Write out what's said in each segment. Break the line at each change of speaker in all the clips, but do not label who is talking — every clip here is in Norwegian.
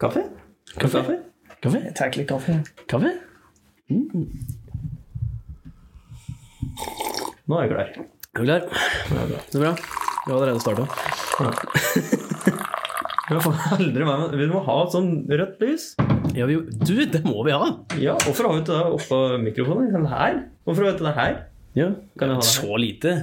Kaffe?
Kaffe?
Kaffe?
Kaffe?
Jeg tar litt kaffe.
Kaffe?
Nå er jeg klar.
Er du klar? Ja, bra. Det er bra. Du har allerede starta.
Vi må, få aldri være med. vi må ha et sånn rødt lys.
Ja, vi, du, det må vi ha!
Ja, hvorfor har vi ikke det oppå mikrofonen? Den her? Hvorfor har vi ikke det her?
Ja.
Kan jeg ha det her?
Så lite.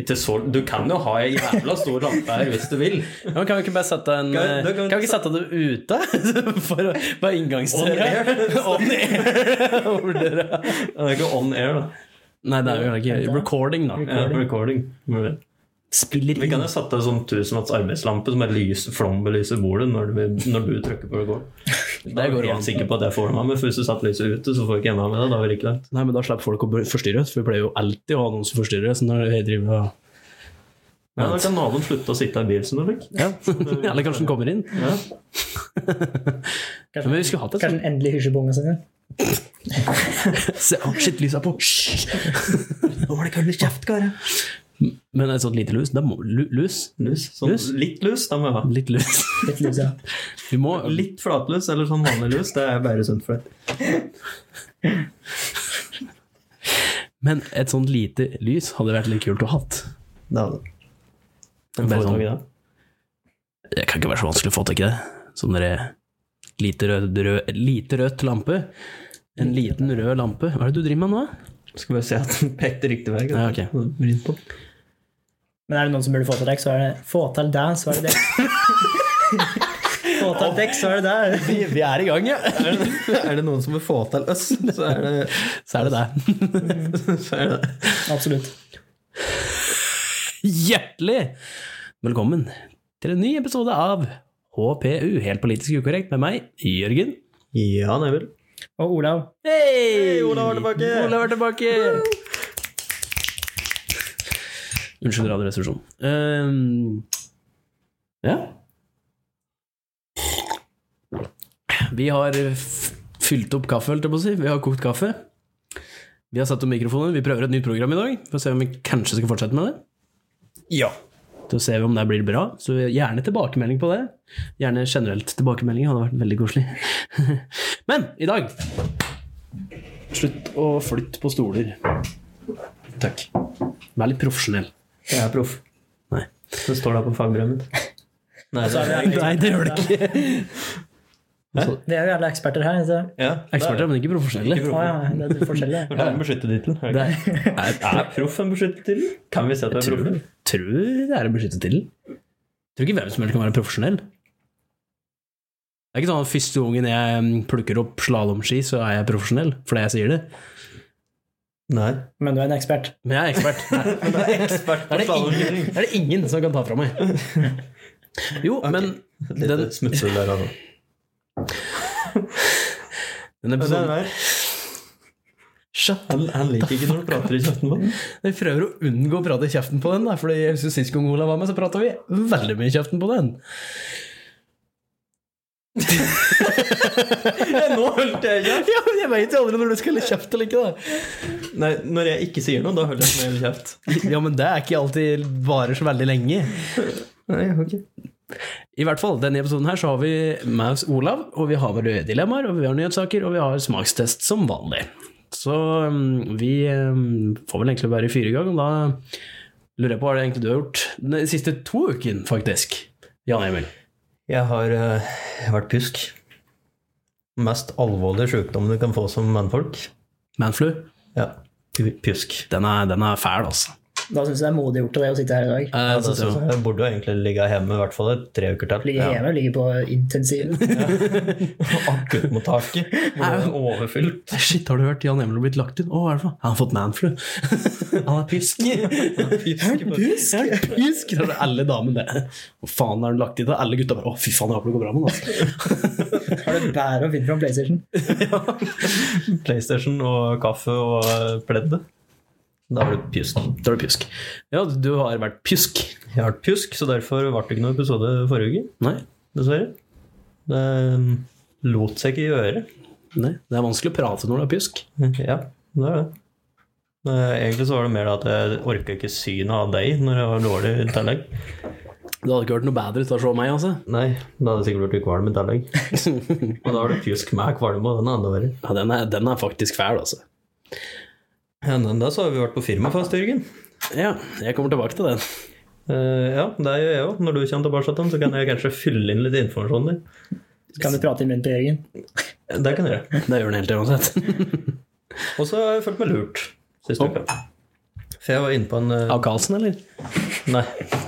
Ikke så Du kan jo ha ei jævla stor lampe her hvis du vil.
Ja, men kan vi ikke bare sette en
Kan-
eh,
da
Kan
kan-
vi ikke sette det ute? For å- Bare inngangsdøra.
On
air. Over døra.
Det er ikke on air, da.
Nei, det er jo ikke Recording, da.
Ja, recording.
Spiller
Vi
inn.
kan jo sette en sånn tusenwatts arbeidslampe som bare lyser, flombelyser bordet når du, når du trykker på record. Da er
går
jeg
an.
helt sikker på at det får du meg med, for hvis du setter lyset ute, så får du ikke enda med det. Da er det ikke lett.
Nei, men da slipper folk å bli- forstyrre, for vi pleier jo alltid å ha noen som forstyrrer. Så når jeg driver og
Ja, da kan naboen slutte å sitte i bil som du fikk.
ja. Eller kanskje den kommer inn.
Ja.
Men vi skulle hatt et
Kanskje den endelig hysjer på ungene sine.
Se, å, shit, lyset er på! Hysj!
Nå var det kald kjeft, kar.
Men et sånt lite lus det må, lu- Lus?
Lus. Sånn,
Lus?
Litt lus, da må jeg ha.
Litt lus.
Litt lus, ja.
Vi må
Litt flatlus eller sånn vanlig lus, det er bare sunt for deg.
Men et sånt lite lys hadde vært litt kult å ha hatt.
Det hadde det.
Men bare
Få tak i
sånn-
det.
Det kan ikke være så vanskelig å få tak i det. Sånn derre lite rød, rød, lite rødt lampe. En liten rød lampe. Hva er det du driver med nå?
Skal bare se at den pekte riktig vei.
Ja, ok.
Vridd på.
Men er det noen som burde få til deg, så er det Få til deg, så er det det. få til deg, så er det det.
Vi, er i gang, ja!
Er det, er det noen som vil få til oss, så er det
Så er det det.
så er det.
Absolutt.
Hjertelig velkommen til en ny episode av HPU, helt politisk ukorrekt, med meg, Jørgen.
Ja, det er vel.
Og Olav.
Hei!
Hei, Olav er tilbake!
Olav er tilbake! Unnskyld radioresepsjonen. Ehm, ja. Vi har f- fylt opp kaffe, holdt jeg på å si. Vi har kokt kaffe. Vi har satt opp mikrofonen. Vi prøver et nytt program i dag for å se om vi kanskje skal fortsette med det.
Ja.
Så ser vi om det blir bra. Så gjerne tilbakemelding på det. Gjerne generelt tilbakemelding. Hadde vært veldig koselig. Men i dag Slutt å flytte på stoler. Takk. Vær litt profesjonell.
Jeg er proff.
Nei.
Det står der på fagbrevet mitt. Nei,
Så er vi
Nei, det gjør det ikke.
Vi er jo alle eksperter her. Så.
ja,
Eksperter, men ikke profesjonelle.
Å ja, det er litt forskjellig.
Det er en beskyttetittel. er det
Det
ikke?
er, jeg
Er proff en beskyttetittel? Kan vi si at det er
tror,
proff?
tror det er en beskyttetittel. Tror ikke hvem som helst kan være profesjonell. Det er ikke sånn at første gangen jeg plukker opp slalåmski, så er jeg profesjonell fordi jeg sier det.
Nei.
Men du er en ekspert.
Men jeg er ekspert. Nei.
Men det er ekspert
Er det, ingen, er det ingen som kan ta fra meg? Jo, men den,
Litt smutthull der, altså.
den
Men den
episoden
der,
Sja,
han, han liker ikke når du prater i kjeften på den.
Jeg prøver å unngå å prate i kjeften på den, da, Fordi jeg husker sist gang Olav var med, så prata vi veldig mye i kjeften på den.
Nå holdt jeg kjeft!
Ja, men Jeg veit jo aldri når du skal kjefte eller ikke. da
Nei, når jeg ikke sier noe, da holder jeg meg kjeft.
Ja, men det er ikke alltid varer så veldig lenge.
Nei, ok.
I hvert fall, denne episoden her så har vi med oss Olav, og vi har våre dilemmaer, og vi har nyhetssaker, og vi har smakstest som vanlig. Så um, vi um, får vel egentlig bare fyre i gang, og da lurer jeg på hva det egentlig du har gjort de siste to ukene, faktisk. Jan Emil.
Jeg har eh, vært pjusk. Mest alvorlige sykdommen du kan få som mannfolk.
Manflu,
Ja, pu- pjusk.
den er, den er fæl, altså.
Da syns jeg det er modig gjort av deg å sitte her i dag.
Eh,
Ja,
så-
det synes jeg. jeg burde jo egentlig ligge hjemme i hvert fall i tre uker til.
Ligger hjemme, ligger på intensiv.
Akuttmottaket hvor det er overfylt.
Shit, har du hørt Jan Emil har blitt lagt inn? Å, hva er det for noe? Han har fått manflu. Han er pysk. Pysk? Ja, pysk. Det er alle damene, det. Hva faen er han lagt inn? Og alle gutta bare Å, fy faen, jeg håper det går bra med han, altså.
Har du bære å finne fra PlayStation?
PlayStation og kaffe og eh, pledd. Da var det pjusk.
Da er det pjusk. Ja, du har vært pjusk.
Jeg har vært pjusk, så derfor ble det ikke noen episode forrige uke,
Nei.
dessverre. Det eh, lot seg ikke gjøre.
Nei. Det er vanskelig å prate når du er pjusk.
Ja, det er det. Eh, Men Egentlig så var det mer det at jeg orka ikke synet av deg når jeg var dårlig i tillegg.
Det hadde ikke vært noe bedre til å se meg, altså.
Nei, da hadde det sikkert blitt kvalm i tillegg. Og da har du pjusk med kvalm, og den er enda verre.
Ja, den er, den er faktisk fæl, altså.
Ja, men da så har vi vært på firmafest, Jørgen.
Ja, jeg kommer tilbake til den.
Eh, ja, det gjør jeg òg. Når du kommer tilbake til den, så kan jeg kanskje fylle inn litt informasjon der. Eh,
Så kan vi prate i munnen til Jørgen.
Det kan jeg gjøre.
Det gjør den helt uansett.
Og så har jeg følt meg lurt siste uka. For jeg var inne på en eh,
Av Karlsen, eller?
Nei.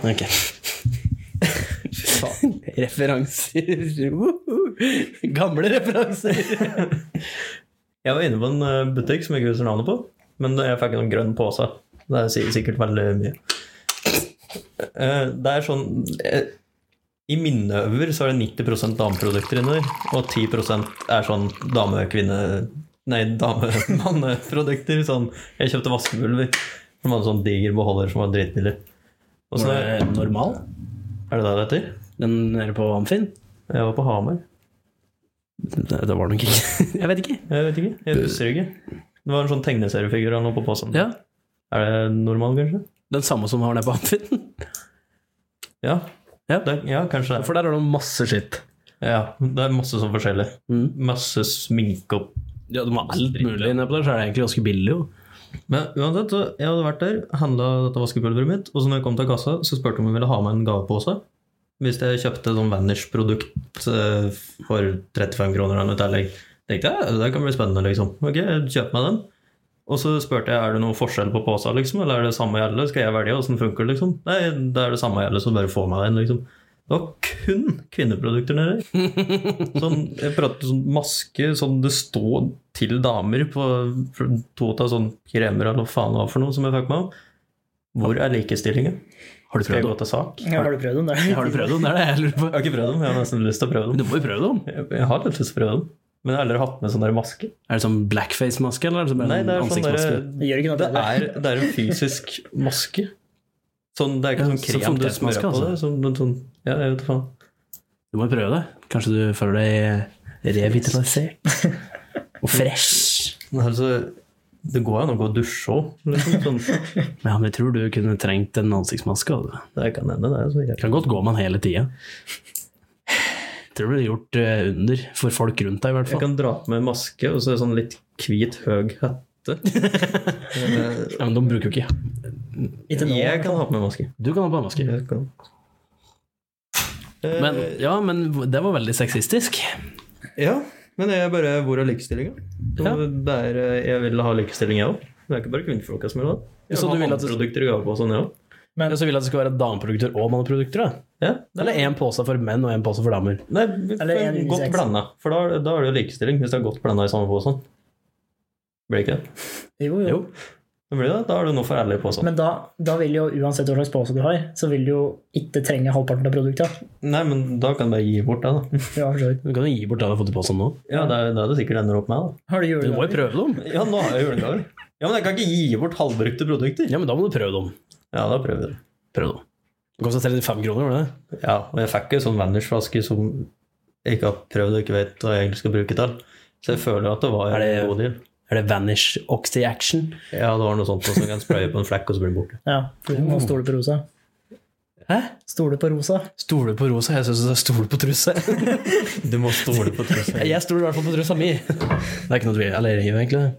Ok.
faen.
Referanser. Woho! Gamle referanser.
Jeg var inne på en eh, butikk som jeg ikke husker navnet på, men jeg fikk en grønn pose. Det sier sikkert veldig mye. Eh, Det er sånn eh, I mine øver så er det 90 dameprodukter inni der, og 10 er sånn dame-kvinne... Nei, dame-manneprodukter. Sånn Jeg kjøpte vaskepulver. Som hadde sånn diger beholder som var dritbillig. Og så er
Normal?
det det det heter?
Den er på Amfinn?
Jeg var på Hamar.
Det, det var nok ikke Jeg vet ikke.
Jeg vet ikke. Jeg husker ikke. Det var en sånn tegneseriefigur han lå på posen.
Ja,
Er det normal, kanskje?
Den samme som har den på Amfinn?
Ja.
Ja.
Det, ja, kanskje det.
For der er det masse skitt.
Ja, det er masse sånn forskjellig.
Mm.
Masse sminke opp.
Ja, de har alt mulig inne på der, så er det egentlig ganske billig, jo.
Men uansett, så jeg hadde vært der, handla dette vaskepulveret mitt, og så når jeg kom til kassa, så spurte jeg om hun ville ha med en gavepose. Hvis jeg kjøpte sånn Vanish-produkt eh, for 35 kroner eller noe i tillegg. Tenkte jeg, det kan bli spennende, liksom. Ok, kjøp meg den. Og så spurte jeg er det noen forskjell på posa, liksom, eller er det samme gjelde? Skal jeg velge åssen funker det, liksom? Nei, det er det samme gjelde, så bare få meg den, liksom. Det var kun kvinneprodukter nedi. Sånn, jeg prater sånn maske, sånn det står til damer på to av sånne kremer eller hva faen det var for noe som jeg fikk med om. Hvor er likestillingen?
Har du
Skal jeg
prøvd
gå
dem?
til sak?
Ja, har du prøvd den der?
Har du prøvd dem? Det er det jeg lurer
Jeg
på.
har ikke prøvd dem, jeg har nesten lyst til å prøve
Men
dem.
Du må jo prøve dem.
Jeg jeg har litt lyst til å prøve dem. Men jeg har aldri hatt med sånn der maske.
Er det sånn blackface-maske, eller er det sånn bare
Nei,
en
det er sånn
ansiktsmaske?
der,
Jørgen har
det
prøvd den.
er, det er en fysisk maske. Sånn, det er ikke
Ja,
sånn
sånn
krem
som
du
dødsmaske,
smører på
altså.
det. Sånn, sånn, ja, jeg vet faen.
Du må jo prøve det. Kanskje du føler deg revitalisert og fresh.
Men altså, det går jo an å gå og dusje òg. Liksom, sånn.
Ja, men jeg tror du kunne trengt en ansiktsmaske. altså.
Det kan hende, det. er så
Det
jævlig.
kan godt gå med den hele tida. Tror det blir gjort eh, under for folk rundt deg, i hvert
Jeg
fall.
kan dra på meg maske og så er det sånn litt hvit, høg hette. Eh,
Ja, men de bruker jo ikke
Ikke nå.
Jeg kan ha på meg maske.
Du kan ha på deg maske.
Jeg kan. Eh,
Men, ja, men det var veldig sexistisk.
Ja, men jeg bare Hvor er likestillinga?
Ja.
Det er, eh, Jeg vil ha likestilling, jeg òg. Det er ikke bare kvinnfolka som vil ha det. Jeg
Så
vil
du
ha
vil at det-
håndprodukter i gave og sånn, jeg òg.
Men-
Og så vil jeg at det skal være dameprodukter og manneprodukter. da.
Ja.
Eller én pose for menn og én pose for damer.
Nei, vi
Eller
får
en
godt
unisex.
blanda. For da, da er det jo likestilling, hvis det er godt blanda i samme pose. Blir det ikke det?
Jo, jo.
Jo.
Det blir det. Da er det noe for alle i posen.
Men da, da vil jo, uansett hva slags pose du har, så vil du jo ikke trenge halvparten av produktet.
Nei, men da kan du bare gi bort det, da.
Ja, for så vidt.
Du kan jo gi bort det du har fått i posen nå.
Ja, det er det er det sikkert ender opp med, da.
Har du
Du må
julegaver?
jo prøve dem.
Ja, nå har jeg julegaver. Ja, men jeg kan ikke gi bort halvbrukte produkter.
Ja, men da må du prøve dem.
Ja, da prøver vi det.
Prøv dem. Det kosta 35 kroner, var det det?
Ja, og jeg fikk jo sånn Vanish-flaske som jeg ikke har prøvd og ikke vet hva jeg egentlig skal bruke til. Så jeg føler at det var
Er
en
det-
god deal.
Er det Vanish Oxy Action?
Ja, det var noe sånt som kan spraye på en flekk, og så blir den borte.
Ja, for du må stole på rosa.
Oh. Hæ?
Stole på rosa.
Stole på rosa? Jeg syns du sa stole på trusse.
Du må stole på trusselen.
Jeg stoler i hvert fall på trussa mi. Det er ikke noe tvil. Eller jeg gjør egentlig det.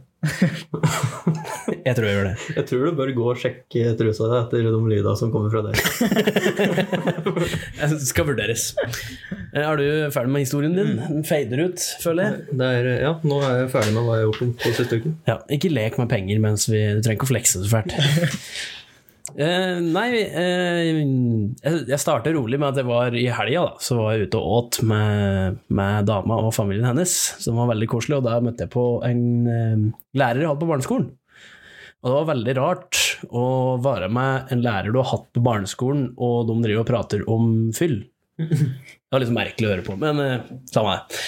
Jeg tror jeg gjør det.
Jeg tror du bør gå og sjekke trusa di etter de lyda som kommer fra deg.
Jeg synes det skal vurderes. Eh, Er du ferdig med historien din? Den fader ut, føler jeg.
Det er, eh, ja, nå er jeg ferdig med hva jeg har gjort om på siste uken.
Ja, ikke lek med penger mens vi Du trenger ikke å flekse så fælt. Eh, nei, eh, jeg, jeg starter rolig med at jeg var i helga, da. Så var jeg ute og åt med, med dama og familien hennes, som var veldig koselig. Og da møtte jeg på en eh, lærer jeg hadde på barneskolen. Og det var veldig rart å være med en lærer du har hatt på barneskolen, og de driver og prater om fyll. Det var liksom merkelig å høre på, men eh, samme det.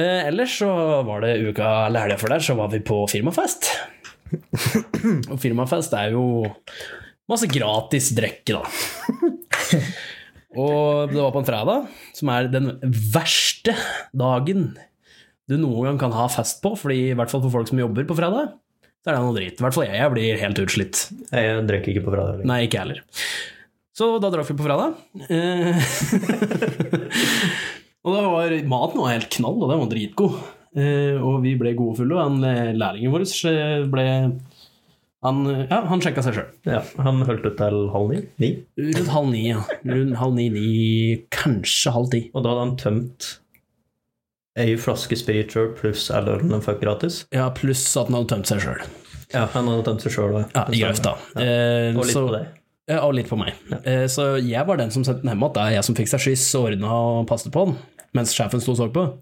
Eh, ellers så var det uka eller helga før der, så var vi på firmafest. Og firmafest er jo masse gratis drikke, da. Og det var på en fredag, som er den verste dagen du noen gang kan ha fest på, fordi i hvert fall for folk som jobber på fredag, så er det noe dritt. I hvert fall jeg, jeg blir helt utslitt.
Nei, jeg drikker ikke på fredag.
Nei, ikke jeg heller. Så da drakk vi på fredag. Eh, og da var maten var helt knall, og den var dritgod. Eh, og vi ble gode fulle, og han eh, lærlingen vår eh, ble Han, eh, ja, han sjekka seg sjøl.
Ja, han holdt ut til halv ni. ni.
Rundt halv ni, ja. Rundt halv ni-ni, kanskje halv ti.
Og da hadde han tømt ei flaske Spiritual pluss all ølen han fikk gratis.
Ja, pluss at han hadde tømt seg sjøl.
Ja, han hadde tømt seg sjøl òg.
Ja, I grøfta. Eh,
Og litt
så-
på det.
Ja, og litt på meg. Eh, Så jeg var den som sendte den hjemme, at det er jeg som fikk seg skyss og ordna og passet på den, mens sjefen sto og så på.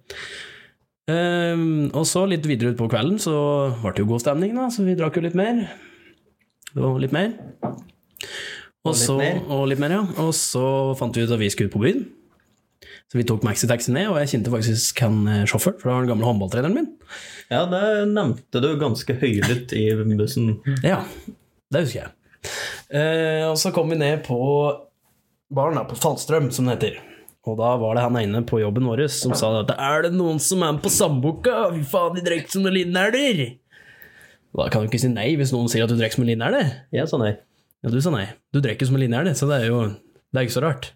Ehm, og så litt videre utpå kvelden så ble det jo god stemning, da, så vi drakk jo litt mer. Det var litt mer. Og, så,
mer.
og litt mer, ja. Og så fant vi ut at vi skulle ut på byen. Så vi tok maxitaxi ned, og jeg kjente faktisk han eh, sjåføren, for det var den gamle håndballtreneren min.
Ja, det nevnte du ganske høylytt i bussen.
Ja, det husker jeg. Eh, og så kom vi ned på baren da, på Fallstrøm, som det heter. Og da var det han ene på jobben vår som sa at er det noen som er med på Sandbukka? Fy faen, de drikker som noen linerler! Da kan du ikke si nei hvis noen sier at du drikker som en linerler.
Jeg sa nei.
Ja, du sa nei. Du drikker som en linerler, så det er jo det er ikke så rart.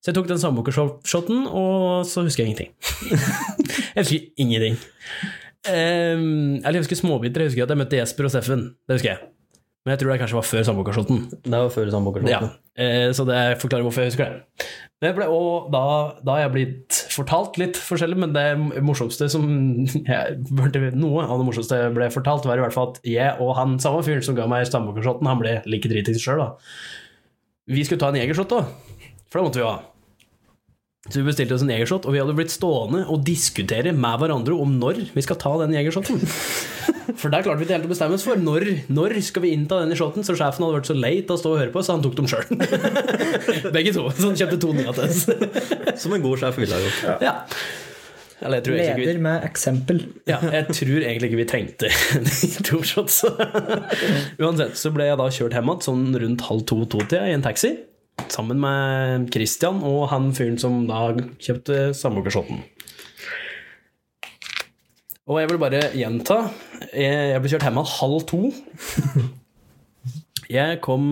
Så jeg tok den sandbukka-shoten, og så husker jeg ingenting. jeg husker ingenting. Ehm, eller jeg husker småbiter. Jeg husker at jeg møtte Jesper og Steffen. Det husker jeg. Men jeg tror det kanskje var før sandbukka-shoten.
Det var før samboerskapet.
Ja. Eh, så det forklarer hvorfor jeg husker det. Men jeg ble, og da, da har jeg blitt fortalt litt forskjellig, men det morsomste som jeg, burde- Noe av det morsomste jeg ble fortalt, var i hvert fall at jeg og han samme fyren som ga meg stambukkershotten, han ble like dritings sjøl, da. Vi skulle ta en jegershot òg, for det måtte vi jo ha. Så vi bestilte oss en jegershot, og vi hadde blitt stående og diskutere med hverandre om når vi skal ta den jegershoten. For der klarte vi ikke helt å bestemme oss for når, når skal vi innta denne shoten. Så sjefen hadde vært så lei til å stå og høre på, så han tok dem sjøl. Begge to. Så han kjøpte to nye til oss.
Som en god sjef ville ha gjort.
Ja. Eller jeg tror egentlig ikke vi
Leder med eksempel.
ja, jeg tror egentlig ikke vi trengte de to shots. Uansett så ble jeg da kjørt hjem igjen sånn rundt halv to-to-tida i en taxi. Sammen med Christian og han fyren som da kjøpte samboershoten. Og jeg vil bare gjenta. Jeg jeg ble kjørt hjem igjen halv to. Jeg kom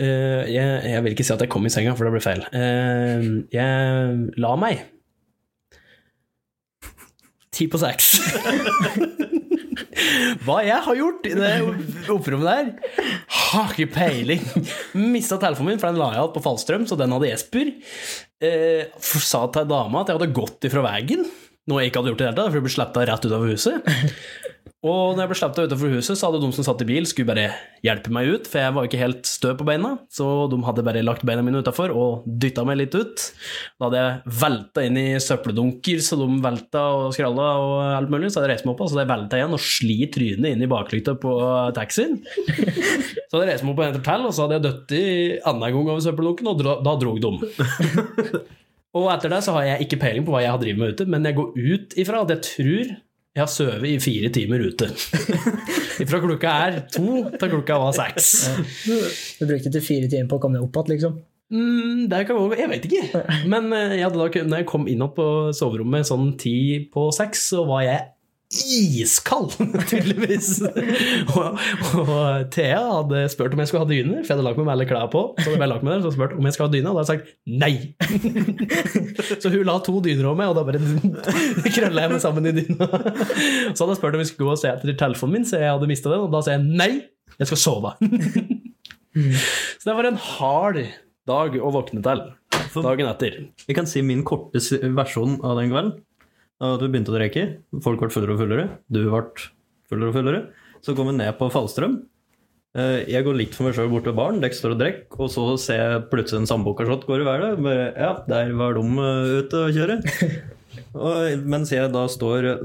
eh, jeg, jeg vil ikke si at jeg kom i senga, for det ble feil. Eh, jeg la meg ti på seks. Hva jeg har gjort i det opprommet der? Har ikke peiling. Mista telefonen min, for den la jeg igjen på Fallstrøm, så den hadde Jesper. Eh, for- sa til ei dame at jeg hadde gått ifra veien, noe jeg ikke hadde gjort i det hele tatt, for jeg ble sleppa rett ut av huset. Og når jeg ble sleppt utenfor huset, så hadde de som satt i bil, skulle bare hjelpe meg ut, for jeg var ikke helt stø på beina. Så de hadde bare lagt beina mine utafor og dytta meg litt ut. Da hadde jeg velta inn i søppeldunker, så de velta og skralla og alt mulig. Så hadde jeg reist meg opp, og så hadde jeg velta igjen og sli trynet inn i baklykta på taxien. Så hadde jeg reist meg opp på en til, og så hadde jeg dødd i annen gang over søppeldunken, og dra- da drog de. Og etter det så har jeg ikke peiling på hva jeg har drevet med ute, men jeg går ut ifra at jeg tror jeg har sovet i fire timer ute. Fra klokka er to til klokka var seks.
Du brukte til fire timer på å komme deg opp igjen, liksom.
Mm, det kan gå, jeg vet ikke. Men eh, jeg hadde da, kun- når jeg kom inn opp på soverommet sånn ti på seks, så var jeg iskald, tydeligvis. og, og Thea hadde spurt om jeg skulle ha dyne, for jeg hadde lagt meg med alle klær på. Så hadde jeg lagt meg der, så hadde hun spurt om jeg skulle ha dyne, og da hadde jeg sagt nei. så hun la to dyner over meg, og da bare krølla jeg meg sammen i dyna. så hadde jeg spurt om vi skulle gå og se etter telefonen min, så jeg hadde mista den, og da sa jeg nei, jeg skal sove. så det var en hard dag å våkne til dagen etter.
Jeg kan si min korte s- versjon av den kvelden. Da du begynte å drikke, folk ble fullere og fullere, du ble fullere og fullere. Så kom vi ned på Fallstrøm. Eh, Jeg går litt for meg sjøl bort til baren, dere står og drikker, og så ser jeg plutselig en samboerkashot går i været. Bare, ja, der var de eh, ute å kjøre. Og mens jeg da står eh,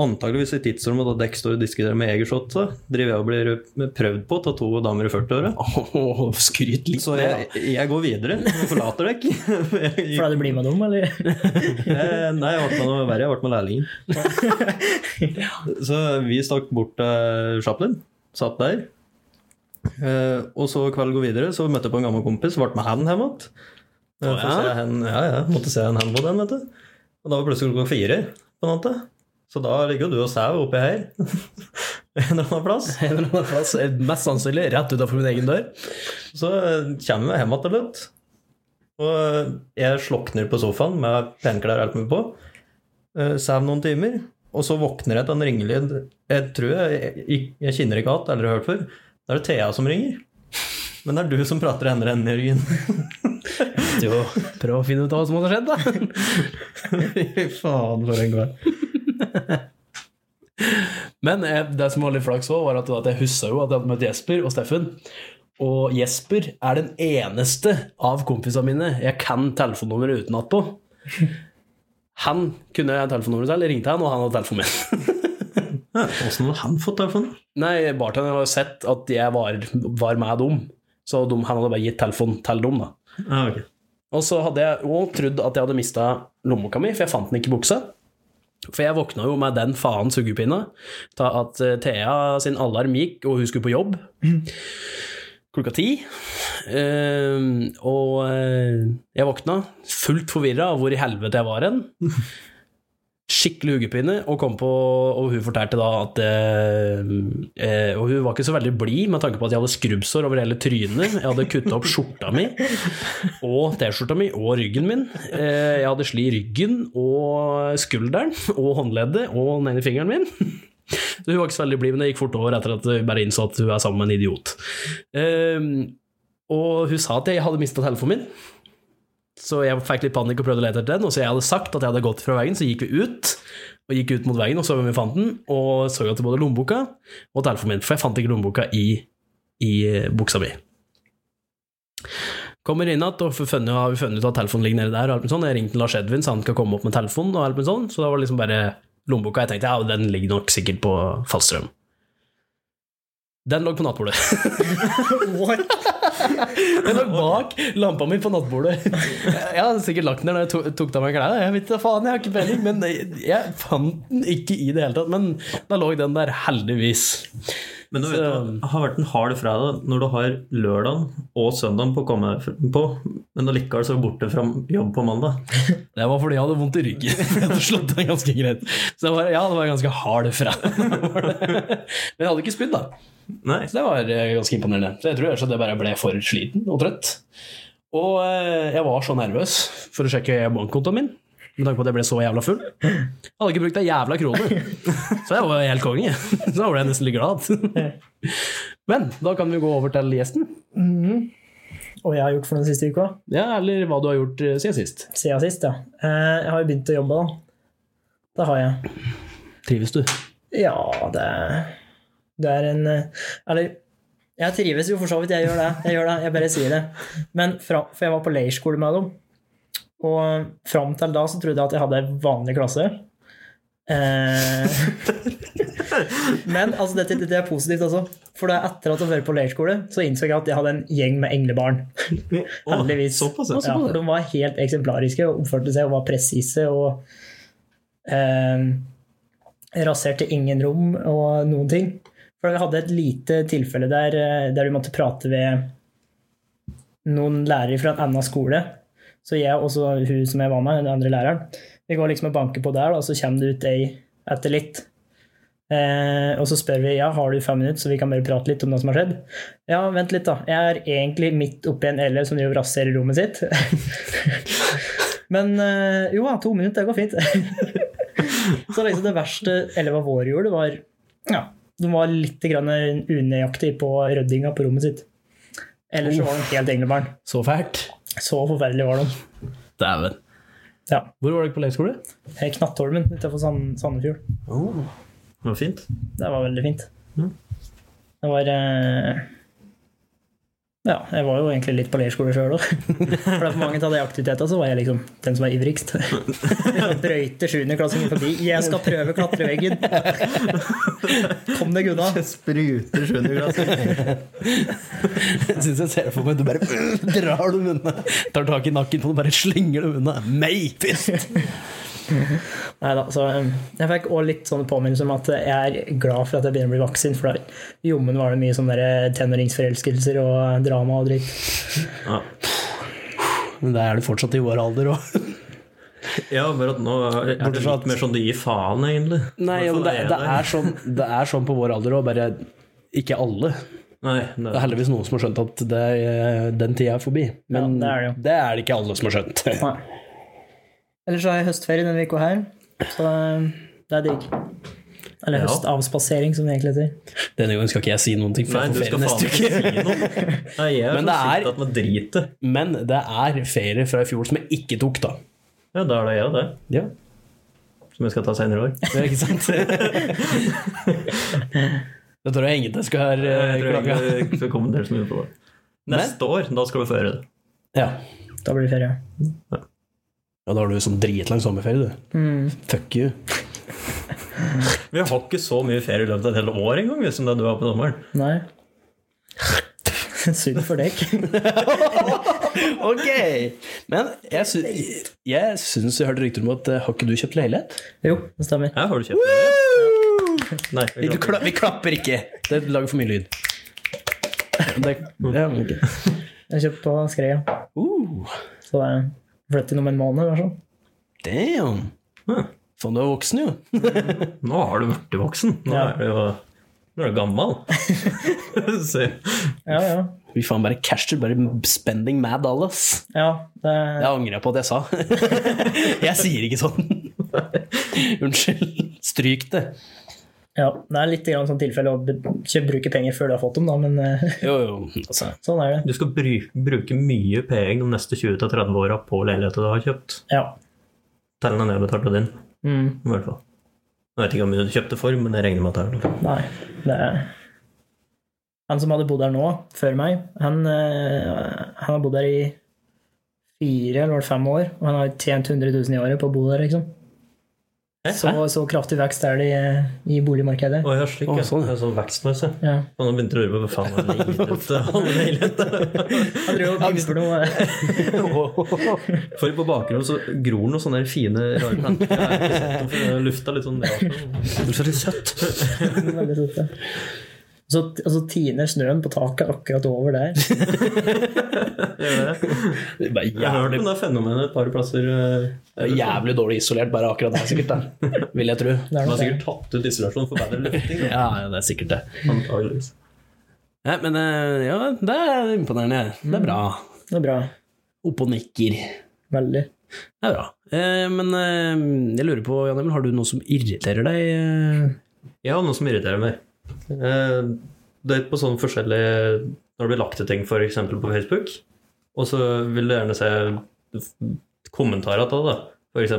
antageligvis i tidsrommet da dere står og diskuterer med Egershot, så driver jeg og blir eh, prøvd på av to damer i 40-åra.
Åh, skryt litt.
Så jeg, jeg går videre og forlater dere. Jeg-
Fordi du blir med dem, eller?
Eh, Nei, jeg ble med noe verre. Jeg ble med lærlingen. Så vi stakk bort til Chaplin. Satt der. Eh, og så kvelden går videre, så møtte jeg på en gammel kompis. Ble med han hjem igjen.
Å,
Eh, for å
ja?
se hen- Ja, ja. Måtte se en hen på den, vet du. Og da var det plutselig klokka fire på natta. Så da ligger jo du og sover oppi her. en eller annen plass.
En eller annen plass, Mest sannsynlig rett utafor min egen dør.
Så kommer vi hjem igjen til slutt. Og jeg slokner på sofaen med penklær og alt mulig på. Eh, Sover noen timer. Og så våkner jeg til en ringelyd. Jeg tror jeg, jeg, jeg kjenner ikke igjen, aldri hørt før. Da er det Thea som ringer. Men det er du som prater i andre enden, Jørgen.
Jo, prøv å finne ut av hva som har skjedd, da.
Fy faen, for en gang.
Men eh, det som var litt flaks òg, var at, at jeg huska jo at jeg hadde møtt Jesper og Steffen. Og Jesper er den eneste av kompisene mine jeg kan telefonnummeret utenat på. Han kunne jeg telefonnummeret til, jeg ringte han, og han hadde telefonen min.
Åssen hadde han fått telefonen?
Nei, bartenderen hadde sett at jeg var, var med dem, så de, han hadde bare gitt telefonen til dem, da.
Ah, ok.
Og så hadde jeg òg trodd at jeg hadde mista lommeboka mi, for jeg fant den ikke i buksa. For jeg våkna jo med den faen sugepinna ta at eh, Thea sin alarm gikk, og hun skulle på jobb klokka ti. Ehm, og eh, jeg våkna fullt forvirra av hvor i helvete jeg var hen. Skikkelig hodepine, og, kom på, og hun fortalte da at eh, eh, Og hun var ikke så veldig blid, med tanke på at jeg hadde skrubbsår over hele trynet. Jeg hadde kutta opp skjorta mi og T-skjorta mi og ryggen min. Eh, jeg hadde sli i ryggen og skulderen og håndleddet og den ene fingeren min. Så hun var ikke så veldig blid, men det gikk fort over etter at hun bare innså at hun er sammen med en idiot. Eh, og hun sa at jeg hadde mista telefonen min, så jeg fikk litt panikk og prøvde å lete etter den. Og så jeg hadde sagt at jeg hadde gått fra veien, så gikk vi ut. Og gikk ut mot veien og så hvem vi fant den, og så etter både lommeboka og telefonen min. For jeg fant ikke lommeboka i, i eh, buksa mi. Kommer inn igjen, og får funnet- har vi funnet ut at telefonen ligger nede der. Og alt mulig sånn. Jeg ringte Lars Edvin, så han kan komme opp med telefonen. Og alt mulig sånn. Så da var det liksom bare lommeboka. Jeg tenkte ja, den ligger nok sikkert på fallstrøm. Den lå på nattbordet.
What?
Den lå bak lampa mi på nattbordet. Jeg hadde sikkert lagt den der da jeg to- tok av meg klærne. Jeg vet da faen, jeg har ikke peiling, men jeg fant den ikke i det hele tatt. Men da lå den der, heldigvis.
Men du vet,
Så-
det har vært en hard fredag når du har lørdagen og søndagen på å komme på, men allikevel så er du borte fra jobb på mandag.
Det var fordi jeg hadde vondt i ryggen. Jeg hadde slått den ganske greit. Så det var, ja, det var ganske hard fra. Men jeg hadde ikke spydd, da.
Nei,
Så det var eh, ganske imponerende. Så jeg tror kanskje det bare ble for sliten og trøtt. Og eh, jeg var så nervøs for å sjekke bankkontoen min, med tanke på at jeg ble så jævla full. Jeg hadde ikke brukt ei jævla krone, så jeg var helt konge. Så da ble jeg nesten litt glad. Men da kan vi gå over til gjesten.
Og jeg har gjort for den siste uka.
Ja, Eller hva du har gjort eh, siden sist.
Siden sist, ja. Eh, Jeg har jo begynt å jobbe, da. Det har jeg.
Trives du?
Ja, det Det er en eh, Eller jeg trives jo for så vidt, jeg gjør det. Jeg gjør det, jeg bare sier det. Men fra, For jeg var på leirskole med dem. Og fram til da så trodde jeg at jeg hadde en vanlig klasse. Eh, men altså, dette, dette er positivt, altså. For det er etter at jeg var på leirskole, så innså jeg at jeg hadde en gjeng med englebarn. Heldigvis.
Såpass,
Ja,
ja.
for de var helt eksemplariske og oppførte seg og var presise og eh, raserte ingen rom og noen ting. For vi hadde et lite tilfelle der, eh, der vi måtte prate ved noen lærere fra en annen skole. Så jeg og så hun som jeg var med, den andre læreren, vi går liksom og banker på der, da, og så kommer det ut ei etter litt. Eh, og så spør vi ja, har du fem minutter, så vi kan bare prate litt om det som har skjedd. Ja, vent litt, da. Jeg er egentlig midt oppi en LL som driver og raserer rommet sitt. Men eh, jo da, to minutter, det går fint. så liksom det verste elva vår gjorde, var ja, de var litt grann unøyaktige på ryddinga på rommet sitt. Ellers så var de helt englebarn.
Så fælt.
Så forferdelig var de.
Dæven.
Ja.
Hvor var dere på leirskole?
Knattholmen utenfor Sand Sandefjord.
Oh.
Det var fint.
Det var veldig fint.
Mm.
Det var eh, Ja, jeg var jo egentlig litt på leirskole sjøl òg. For det er for mange av de aktivitetene så var jeg liksom den som var ivrigst. Brøyte sjuendeklassingen forbi. 'Jeg skal prøve klatreveggen'. Kom deg unna.
Spruter skjønner
Jeg syns jeg ser det for meg. Du bare drar dem unna. Tar tak i nakken på dem, bare slenger dem unna. Meg! Fist!
Nei da, så eh, jeg fikk også litt sånn påminnelse om at jeg er glad for at jeg begynner å bli voksen, for da- jommen var det mye sånne der tenåringsforelskelser og drama og dritt.
Ja.
Men det er du fortsatt i vår alder òg.
Ja, bare at nå er det
Bortsett fra at-
litt mer sånn du gir faen, egentlig.
Nei,
Hvorfor
men det,
jeg
det,
der?
er sånn, det er sånn på vår alder òg, bare ikke alle.
Nei, det
Det er heldigvis noen som har skjønt at det, eh, den tida er forbi. Men
Ja, det er
det,
det jo.
er det, ikke alle som har skjønt.
Nei. Ellers så har jeg høstferie denne uka her, så eh, det er digg. Eller
Ja.
høstavspasering, som det egentlig heter.
Denne gangen skal ikke jeg si noen ting, for
Nei,
jeg
du
får
skal
ferie neste
faen
uke.
ikke si noe. Nei, jeg er
Men
så
det er-
sikta at man driter.
Men det er ferie fra i fjor som jeg ikke tok, da.
Ja, da er det jeg, det.
Ja,
Som jeg skal ta senere i år.
det er ikke sant? det tror jeg ingen jeg skal
Jeg tror
eh,
jeg
klage.
ikke skal kommentere så mye på det.
Men-
Neste år, da skal du føre det.
Ja.
Da blir det ferie.
ja, da har du sånn dritlang sommerferie, du.
Mm.
Fuck you.
Vi har ikke så mye ferie i løpet av et helt år engang, vi, som det du har på sommeren.
Nei. Synd for dekk.
Ok! Men jeg, sy jeg syns jeg hørte rykter om at eh, har ikke du kjøpt leilighet?
Jo, det stemmer.
Ja, har du kjøpt det? Nei, vi
Du
klapper.
kla- vi klapper ikke! Det lager for mye lyd. Det, ja, men ok.
Jeg kjøpte på Skreia.
uh,
Så det er flytt inn om en måned. Eller sånn.
damn!
Ja.
Faen, du er voksen, jo.
Nå har du blitt voksen. Nå
Ja.
er du jo nå er du gammel. Se.
Ja, ja.
Vi faen bare casher, bare spending mad all, ass.
ja det,
Jeg angrer på at jeg sa. Jeg sier ikke sånn. Unnskyld. Stryk det.
ja, det er litt grann sånn tilfelle å be- ikke bruke penger før du har fått dem, da, men eh,
Jo, jo. Altså,
sånn er det.
Du skal bru- bruke mye penger de neste 20-30 åra på leiligheta du har kjøpt.
Ja.
Tell ned nedbetalte din,
Mm.
i hvert fall. Jeg vet ikke hvor mye du kjøpte for, men jeg regner med at det er
Nei, det er Han som hadde bodd her nå, før meg, han, eh, han har bodd her i fire eller var det fem år, og han har tjent 100 000 i året på å bo der, liksom.
Hæ?
Så, så kraftig vekst er det i, i boligmarkedet.
Å, ja, slik,
Å,
ja.
sånn, ja.
Det er sånn vekstløse.
Ja.
Og nå begynte du å lure på hva faen er det ute? Alle leiligheter.
Han driver og pimper noe.
For på bakgrunnen så gror noen sånne fine, rare planter. Jeg har ikke sett dem før. Det Lufta litt sånn rart.
Du er litt søtt.
Veldig søtt, ja. Så, og så tiner snøen på taket akkurat over der.
Gjør det?
Det er bare
Jeg har hørt
jævlig,
om det fenomenet et par plasser. eh,
det er jævlig dårlig isolert, bare akkurat der, sikkert. Da. Vil jeg tro.
Det er
Man
nok
har
det.
sikkert tatt ut isolasjon for bedre lufting. da.
Ja, ja, det er sikkert det.
Antageligvis.
Nei, men eh, ja, det er imponerende. Det er bra.
Det er bra.
Oppe og nikker.
Veldig.
Det er bra. Eh, Men eh, jeg lurer på, Jan Emil, har du noe som irriterer deg? eh?
Jeg har noe som irriterer meg. Eh, Det er på sånn forskjellige Når det blir lagt til ting, f.eks. på Facebook, og så vil du gjerne se f- kommentarer til det. da. F.eks.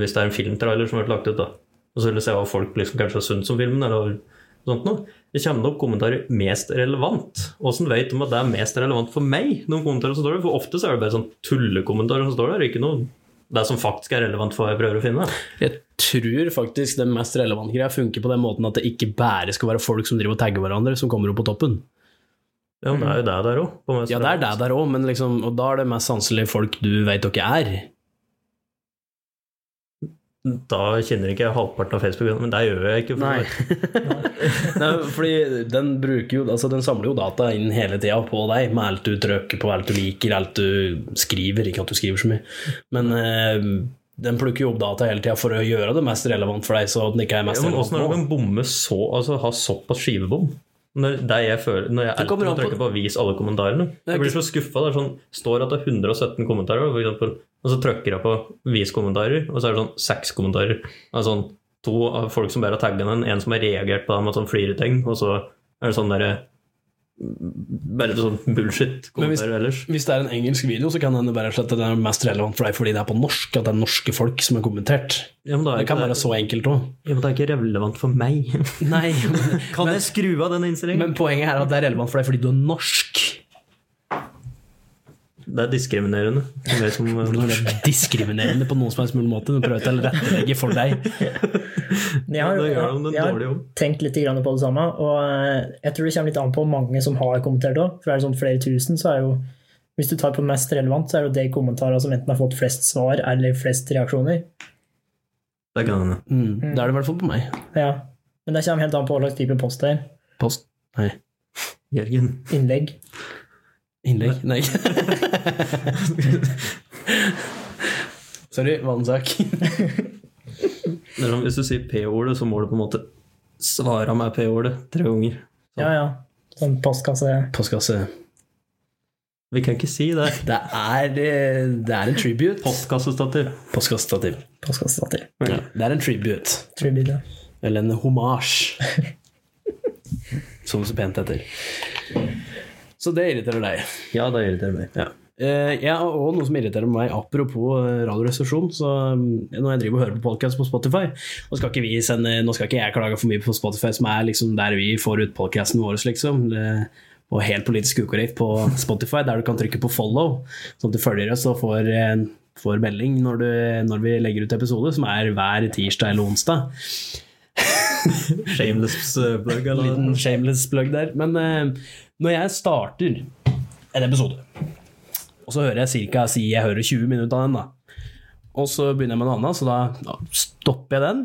hvis det er en filmtrailer som har vært lagt ut, da. og så vil du se hva folk liksom kanskje syns om filmen. eller sånt noe. Det kommer opp kommentarer 'mest relevant'. Åssen vet de at det er mest relevant for meg? noen kommentarer som står der? For ofte så er det bare sånn tullekommentarer som står der. ikke noe det som faktisk er relevant for hva jeg prøver å finne.
Jeg tror faktisk den mest relevante greia funker på den måten at det ikke bare skal være folk som driver og tagger hverandre, som kommer opp på toppen.
Ja, men Det er jo det der òg.
Ja, det er det der òg, men liksom, og da er det mest sanselig folk du veit dere er.
Da kjenner ikke jeg halvparten av Facebook, men det gjør jeg ikke. For
Nei. Nei, fordi den bruker jo Altså, den samler jo data inn hele tida på deg, med alt du trykker på, alt du liker, alt du skriver. Ikke at du skriver så mye, men eh, den plukker jo opp data hele tida for å gjøre det mest relevant for deg, så den ikke er
Ja,
mest
men
relevant
Åssen er det du
nå.
kan bomme så, altså ha såpass skivebom? Når, det jeg føler, når jeg
Det kommer
alltid må
an på-
trykke på 'vis alle kommentarene' Jeg blir så skuffa. Det er sånn, står at det er 117 kommentarer, for eksempel, og så trykker jeg på 'vis kommentarer', og så er det sånn seks kommentarer. Det er sånn To av folk som bare har tagget den, en som har reagert på det med sånn flireting, og så er det sånn derre Bare sånn
Men hvis-
bullshit-kommentarer ellers.
Hvis det er en engelsk video, så kan den bare slett at den er mest relevant for deg fordi det er på norsk, at det er norske folk som er kommentert.
Ja, men, da er
Det
ikke
kan være så enkelt òg.
ja, men det er ikke relevant for meg.
Nei,
Kan jeg skru av den innstillingen?
men poenget er at det er relevant for deg fordi du er norsk.
Det er diskriminerende. Det er som, eh,
Hvordan er det diskriminerende på noen som helst mulig måte? Du prøver å tilrettelegge for deg.
Men Jeg har,
Da gjør de den
jeg har
dårlige jobben.
tenkt litt grann på det samme, og eh, jeg tror det kommer litt an på mange som har kommentert òg. For er det sånn flere tusen, så er jo Hvis du tar på mest relevant, så er det altså jo de kommentarene som enten har fått flest svar eller flest reaksjoner.
det kan hende.
Mm, det er det i hvert fall på meg.
Ja. Men det kommer helt an på hva slags type post det er.
Post. Nei.
Jørgen.
Innlegg.
Innlegg? Nei. Sorry, vannsak.
Det er sånn, hvis du sier P-ordet, så må du på en måte svare meg P-ordet tre ganger.
Ja, ja. Sånn postkasse
Postkasse.
Vi kan ikke si det.
Det er, eh, det er en tribute.
Postkassestativ.
Postkassestativ.
Postkassestativ.
Ja, det er en tribute.
Tribute.
Eller en homasj. Som det så pent heter. Så det irriterer deg.
Ja, det irriterer meg.
Ja. Eh, ja, og noe som irriterer meg, apropos eh, radioresepsjon så mm, Når jeg driver og hører på podcast på Spotify Nå skal ikke, vi sende, nå skal ikke jeg klage for mye på Spotify, som er liksom der vi får ut podcasten vår, liksom. Det- Og helt politisk ukorrekt på Spotify, der du kan trykke på follow, sånn at du følger oss og får, eh, får melding når, du, når vi legger ut episode, som er hver tirsdag eller onsdag.
Shameless eh, plug,
En
eller?
liten shameless plug der. Men eh, når jeg starter en episode, og så hører jeg ca. Si jeg hører 20 minutter av den, da. Og så begynner jeg med en annen, så da ja, stopper jeg den.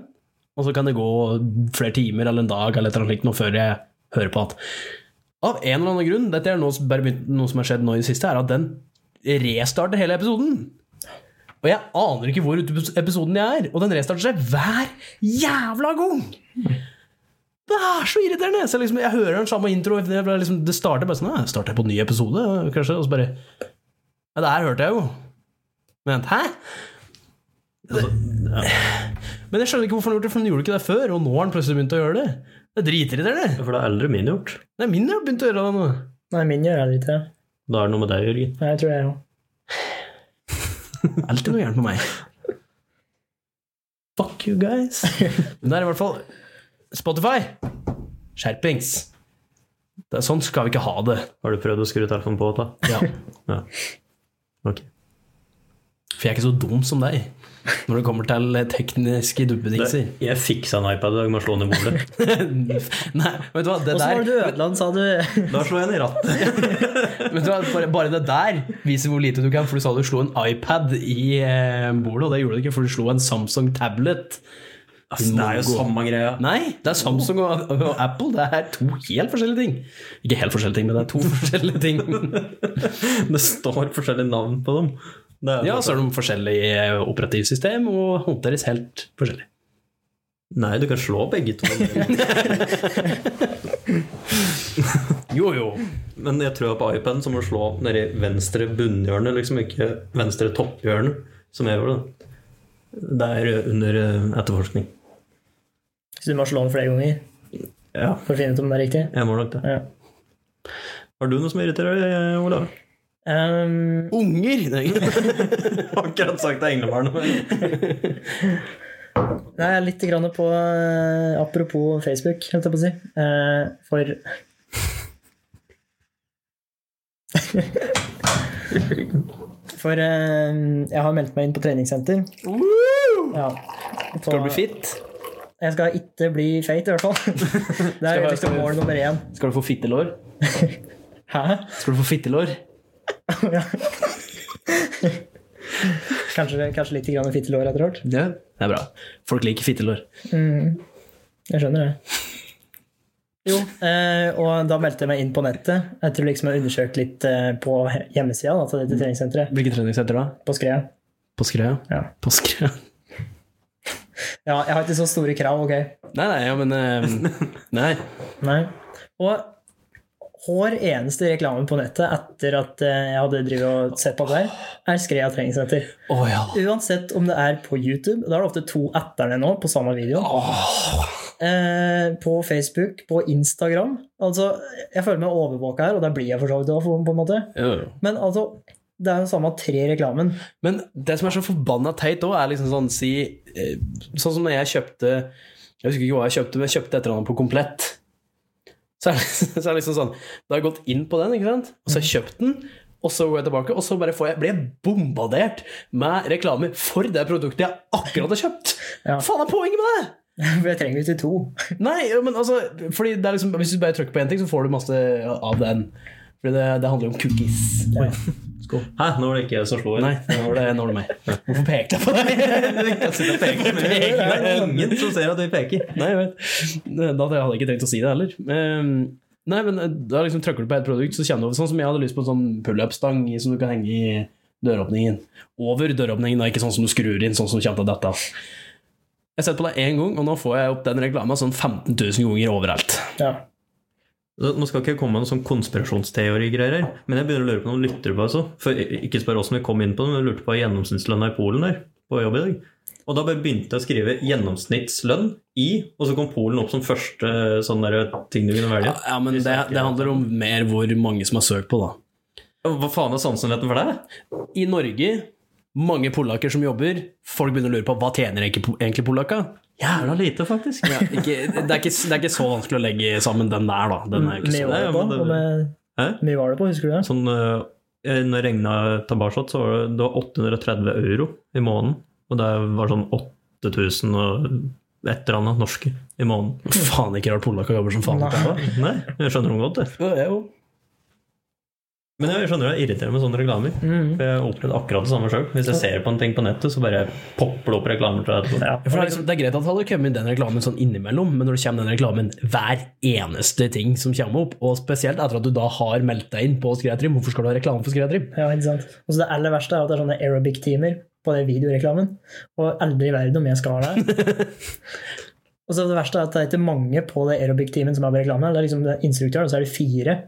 Og så kan det gå flere timer eller en dag eller et eller annet slikt nå før jeg hører på at Av en eller annen grunn, dette er noe, som- bare begynt- noe som har skjedd nå i det siste, er at den restarter hele episoden. Og jeg aner ikke hvor ute i episoden jeg er, og den restarter seg hver jævla gang! Det er så irriterende! Så liksom, jeg hører den samme intro, det ble liksom, det starter bare sånn «Nei, Starter jeg på en ny episode, kanskje? Og så bare Ja, det her hørte jeg jo. Men hæ? Det- Men jeg skjønner ikke hvorfor han har gjort det, for han gjorde ikke det før, og nå har han plutselig begynt å gjøre det. Det er dritirriterende.
For det er aldri min gjort.
Det er min jeg har begynt å gjøre det nå.
Nei, min gjør jeg ikke det.
Da er det noe med deg, Jørgen.
Nei, Jeg tror jeg òg.
Det er alltid noe gærent med meg. Fuck you guys. Men det er i hvert fall Spotify. Skjerpings. Det er, sånn skal vi ikke ha det.
Har du prøvd å skru telefonen på? da?
Ja.
Ja. Ok.
For jeg er ikke så dum som deg når det kommer til tekniske duppedingser.
Jeg fiksa en iPad i dag med å slå den i bordet.
Nei, vet du hva, det
Åssen
der
var det du ødela den, sa du?
Da slår jeg den i rattet.
vet du hva, bare, bare det der viser hvor lite du kan, for du sa du slo en iPad i eh, bordet, og det gjorde du ikke, for du slo en Samsung tablet.
det er jo samme greia.
Nei, det er Samsung og, og Apple. Det er to helt forskjellige ting. Ikke helt forskjellige ting, men det er to forskjellige ting.
Det står forskjellige navn på dem. Det er
Ja, så er de forskjellige eh, operativsystem og håndteres helt forskjellig.
Nei, du kan slå begge to.
Jo, jo.
Men jeg tror på iPaden så må du slå nedi venstre bunnhjørne, liksom ikke venstre topphjørne, som jeg gjorde. da. Det er under eh, etterforskning.
Så du må slå den flere ganger
Ja,
for å finne ut om det er riktig?
jeg må nok det.
Ja.
Har du noe som irriterer deg, eh, Olav?
Ehm,
Unger! Nei.
Akkurat sagt det er englebarnet.
nei, jeg er litt grann på eh, Apropos Facebook, holdt jeg på å si. Eh, for For eh, jeg har meldt meg inn på treningssenter. Ja.
Skal du bli fit?
Jeg skal ikke bli feit, i hvert fall. Det er
være-
liksom mål nummer én.
Skal du få fittelår?
Hæ?
Skal du få fittelår?
Kanskje, kanskje litt grann fittelår etter hvert.
Ja. Det er bra. Folk liker fittelår.
Jeg skjønner det. Jo, eh, og da meldte jeg meg inn på nettet. Jeg tror liksom jeg har undersøkt litt eh, på hjemmesida da, til dette treningssenteret.
Hvilket treningssenter da?
På Skrea.
På Skreia?
Ja.
På Skreia.
ja, jeg har ikke så store krav, ok?
Nei, nei, ja, men eh, Nei.
Nei. Og hver eneste reklame på nettet etter at eh, jeg hadde drevet og sett på det der, er Skrea treningssenter.
Å ja.
Uansett om det er på YouTube, da er det ofte to etterne nå på samme video. Eh, på Facebook, på Instagram. Altså, jeg føler meg overvåka her, og der blir jeg for så vidt òg, på en måte.
Jo, jo.
Men altså, det er jo samme tre reklamen.
Men det som er så forbanna teit òg, er liksom sånn si eh, Sånn som når jeg kjøpte Jeg husker ikke hva jeg kjøpte, men jeg kjøpte et eller annet på Komplett. Så er, det, så er det liksom sånn Da har jeg gått inn på den, ikke sant? og så har jeg kjøpt den. Og så går jeg tilbake, og så bare får jeg, blir jeg bombardert med reklame for det produktet jeg akkurat har kjøpt!
Ja.
Hva faen er poenget med det?!
For jeg trenger jo ikke to.
Nei, ja, men altså fordi det er liksom, Hvis du bare trykker på én ting, så får du masse av den. Fordi det, det handler jo om cookies. Oi, skål.
Hæ, nå var det ikke jeg som slo
Nei,
den.
nå var det, nå var det meg. Hvorfor pekte jeg på deg? Jeg kan sitte og peke på
Det
meg.
er ingen som ser at vi peker.
Nei, jeg vet. Da hadde jeg ikke trengt å si det heller. Ehm, Nei, men Da liksom trykker du på et produkt, så kjenner du Sånn som jeg hadde lyst på en sånn pullup-stang i- som du kan henge i døråpningen. Over døråpningen, da, ikke sånn som du skrur inn, sånn som kommer til dette. Jeg har sett på det én gang, og nå får jeg opp den reklama sånn 15 000 ganger overalt.
Ja.
Så Nå skal ikke jeg komme med noen sånn konspirasjonsteori-greier her, men jeg begynner å lure på noen lyttere på altså. For ikke spør åssen vi kom inn på det, men jeg lurte på gjennomsnittslønna i Polen der, på jobb i dag. Og da bare begynte jeg å skrive 'gjennomsnittslønn' i, og så kom Polen opp som første eh, sånn der ting du kunne velge.
Ja, ja men det, det handler om mer hvor mange som har søkt på, da.
Hva faen er sannsynligheten for det?
I Norge, mange polakker som jobber, folk begynner å lure på hva tjener egentlig egentlig polakka?
Jævla lite, faktisk.
Ja, ikke, det, er ikke, det er ikke så vanskelig å legge sammen den der, da. Den er jo ikke
Mye
så.
var det
Nei,
på,
men det-
og med-
Hæ?
mye var det på, husker du det?
Sånn, eh, når jeg regna tilbake, så var det, det var 830 euro i måneden. Og det var sånn 8000 og et eller annet norske i måneden.
Faen, ikke rart polakker jobber som faen.
Nei.
Hva? Nei, jeg skjønner dem godt, det.
Ja, jeg jo.
Men jeg skjønner det irriterer meg med sånne reklamer.
Mhm.
For Jeg har opplevd akkurat det samme sjøl. Hvis jeg ser på en ting på nettet, så bare popper det opp reklamer til deg.
Ja,
Ja.
For det, er liksom, det er greit at det hadde kommet den reklamen sånn innimellom, men når det kommer den reklamen hver eneste ting som kommer opp, og spesielt etter at du da har meldt deg inn på Skreitrim, hvorfor skal du ha reklame for Skreitrim?
Ja, ikke sant. Og så det aller verste er at det er sånne aerobic-timer på den videoreklamen. Og aldri i verden om jeg skal være der. og så det verste er at det er ikke mange på den aerobic-timen som er på reklame. Det er liksom den instruktøren, og så er det fire.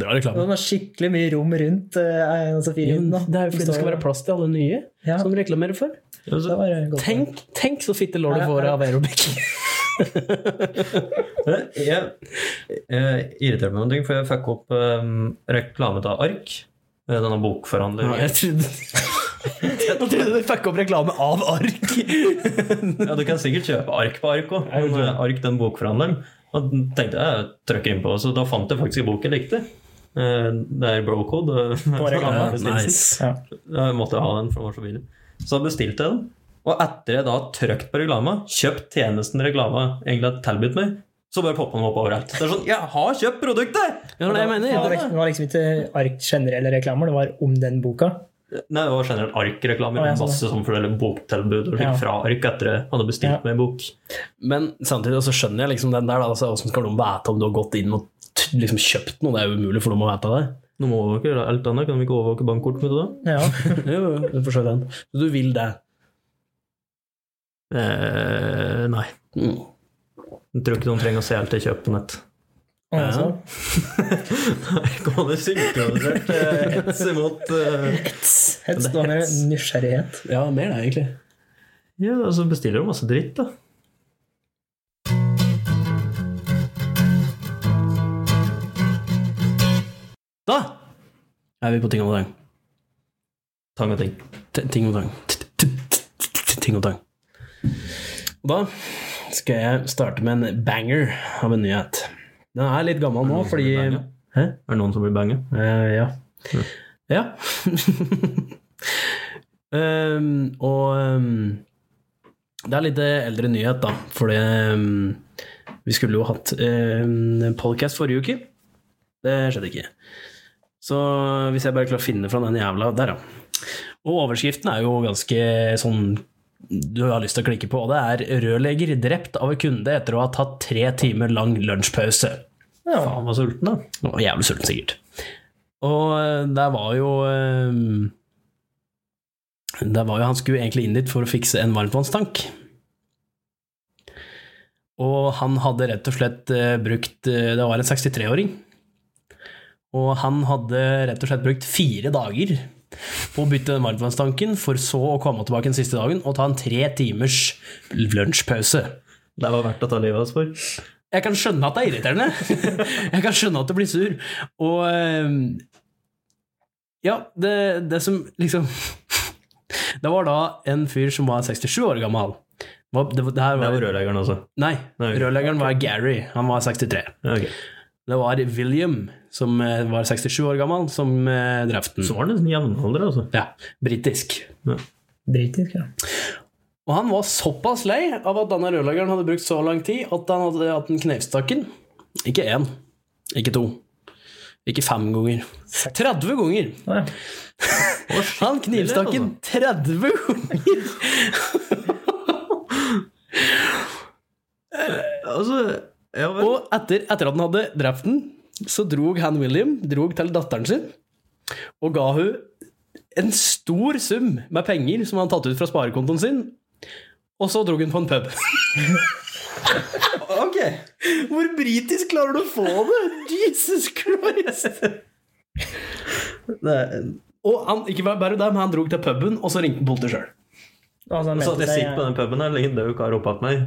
Bra
Og
reklame.
det er skikkelig mye rom rundt. eh, altså fire
Jo,
inn, da.
Det er jo fordi det skal være plass til alle nye
Ja.
som du reklamerer for.
Ja,
Det
så-
var eh, godt.
Tenk, tenk så fitte lår du
Ja,
får
ja.
av aerobic.
eh, Jeg, jeg irriterer meg med noe, for jeg fikk opp um, reklame til Ark. eh, Denne bokforhandleren.
Jeg trodde, jeg trodde du fikk opp reklame av ark.
Ja, du kan sikkert kjøpe ark på ark òg.
Jeg gjorde det.
Ark, den bokforhandleren. Og den tenkte jeg, jeg trykker innpå, så da fant jeg faktisk en bok jeg likte. Eh, Det er Brocode.
reklame.
Ja, nice.
Ja.
Jeg måtte ha den, for den var så billig. Så da bestilte jeg den. Og etter jeg da har trykt på reklama, kjøpt tjenesten reklama egentlig har tilbudt meg, så bare poppa den opp overalt. Det er sånn Jeg har kjøpt produktet!
Ja, det er det jeg mener.
Det var, liksom, det var liksom ikke ark generelle reklamer, det var om den boka.
Nei, det var generelt Ark-reklame.
Å, ja, sånn.
Masse sånn forskjellige boktilbud og
Ja.
fikk fra Ark etter jeg hadde bestilt
Ja.
meg en bok.
Men samtidig så skjønner jeg liksom den der. da, Altså, Hvordan skal de vite om du har gått inn og t- liksom kjøpt noe? Det er jo umulig for dem å vite det.
Nå må vi overvåke alt annet. Kan vi ikke overvåke bankkortet mitt da?
Ja.
Jo, jo, jeg forstår den. Så du vil det.
Eh, nei.
Mm.
Jeg tror ikke noen trenger å se alt jeg kjøper på nett.
Og altså, så,
Kommer det synkronisert eh, hets imot eh,
hets, det var mer nysgjerrighet.
Ja, mer det, egentlig.
Ja, altså bestiller de masse dritt, da.
Da er vi på ting om tang.
Tang og ting.
T- Ting om tang. T- t- t- t- Ting om tang. Og da skal jeg starte med en banger av en nyhet. Den er litt gammel nå, fordi Hæ?
Er det noen som blir banget?
Eh, ja. Ja. Ehm, og ehm, det er litt eh, eldre nyhet, da. Fordi ehm, vi skulle jo hatt um, podcast forrige uke. Det skjedde ikke. Så hvis jeg bare klarer å finne fra den jævla Der, ja. Og overskriften er jo ganske sånn du har lyst til å klikke på, og det er 'Rørlegger drept av en kunde etter å ha tatt tre timer lang lunsjpause'.
Ja.
Faen, var sulten, da.
Han var jævlig sulten, sikkert. Og eh, der var jo eh, Der var jo Han skulle egentlig inn dit for å fikse en varmtvannstank. Og han hadde rett og slett eh, brukt eh, Det var en 63-åring. Og han hadde rett og slett brukt fire dager på å bytte den varmtvannstanken, for så å komme tilbake den siste dagen og ta en tre timers lunsjpause.
Det var verdt å ta livet av oss for.
Jeg kan skjønne at det er irriterende. Jeg kan skjønne at du blir sur. Og ehm, Ja, det, det som liksom Det var da en fyr som var 67 år gammel. Hva- Det, var- det her
Det var
var,
rørleggeren også.
nei,
Nei.
rørleggeren var Gary. Han var 63.
Ja, ok.
Det var William, som eh, var 67 år gammel, som eh, drepte den.
Så var han nesten jevnaldrende, altså.
Ja, britisk.
Britisk, ja.
Og han var såpass lei av at denne rørleggeren hadde brukt så lang tid at han hadde hatt den knivstakken. Ikke én, ikke to, ikke fem ganger. 30 ganger!
Å, ja.
Han knivstakken 30 ganger!
Altså, ja vel.
Og etter, etter at han hadde drept den, så drog han William drog til datteren sin og ga hun en stor sum med penger som han hadde tatt ut fra sparekontoen sin, og så dro han på en pub.
Ok!
Hvor britisk klarer du å få det? Jesus Christ!
Det er,
Og han, ikke bare det, men han dro til puben, og så ringte han politiet sjøl.
Altså, han
så at
mente
jeg
seg-
sitter på den puben her, ligger en død kar oppå meg.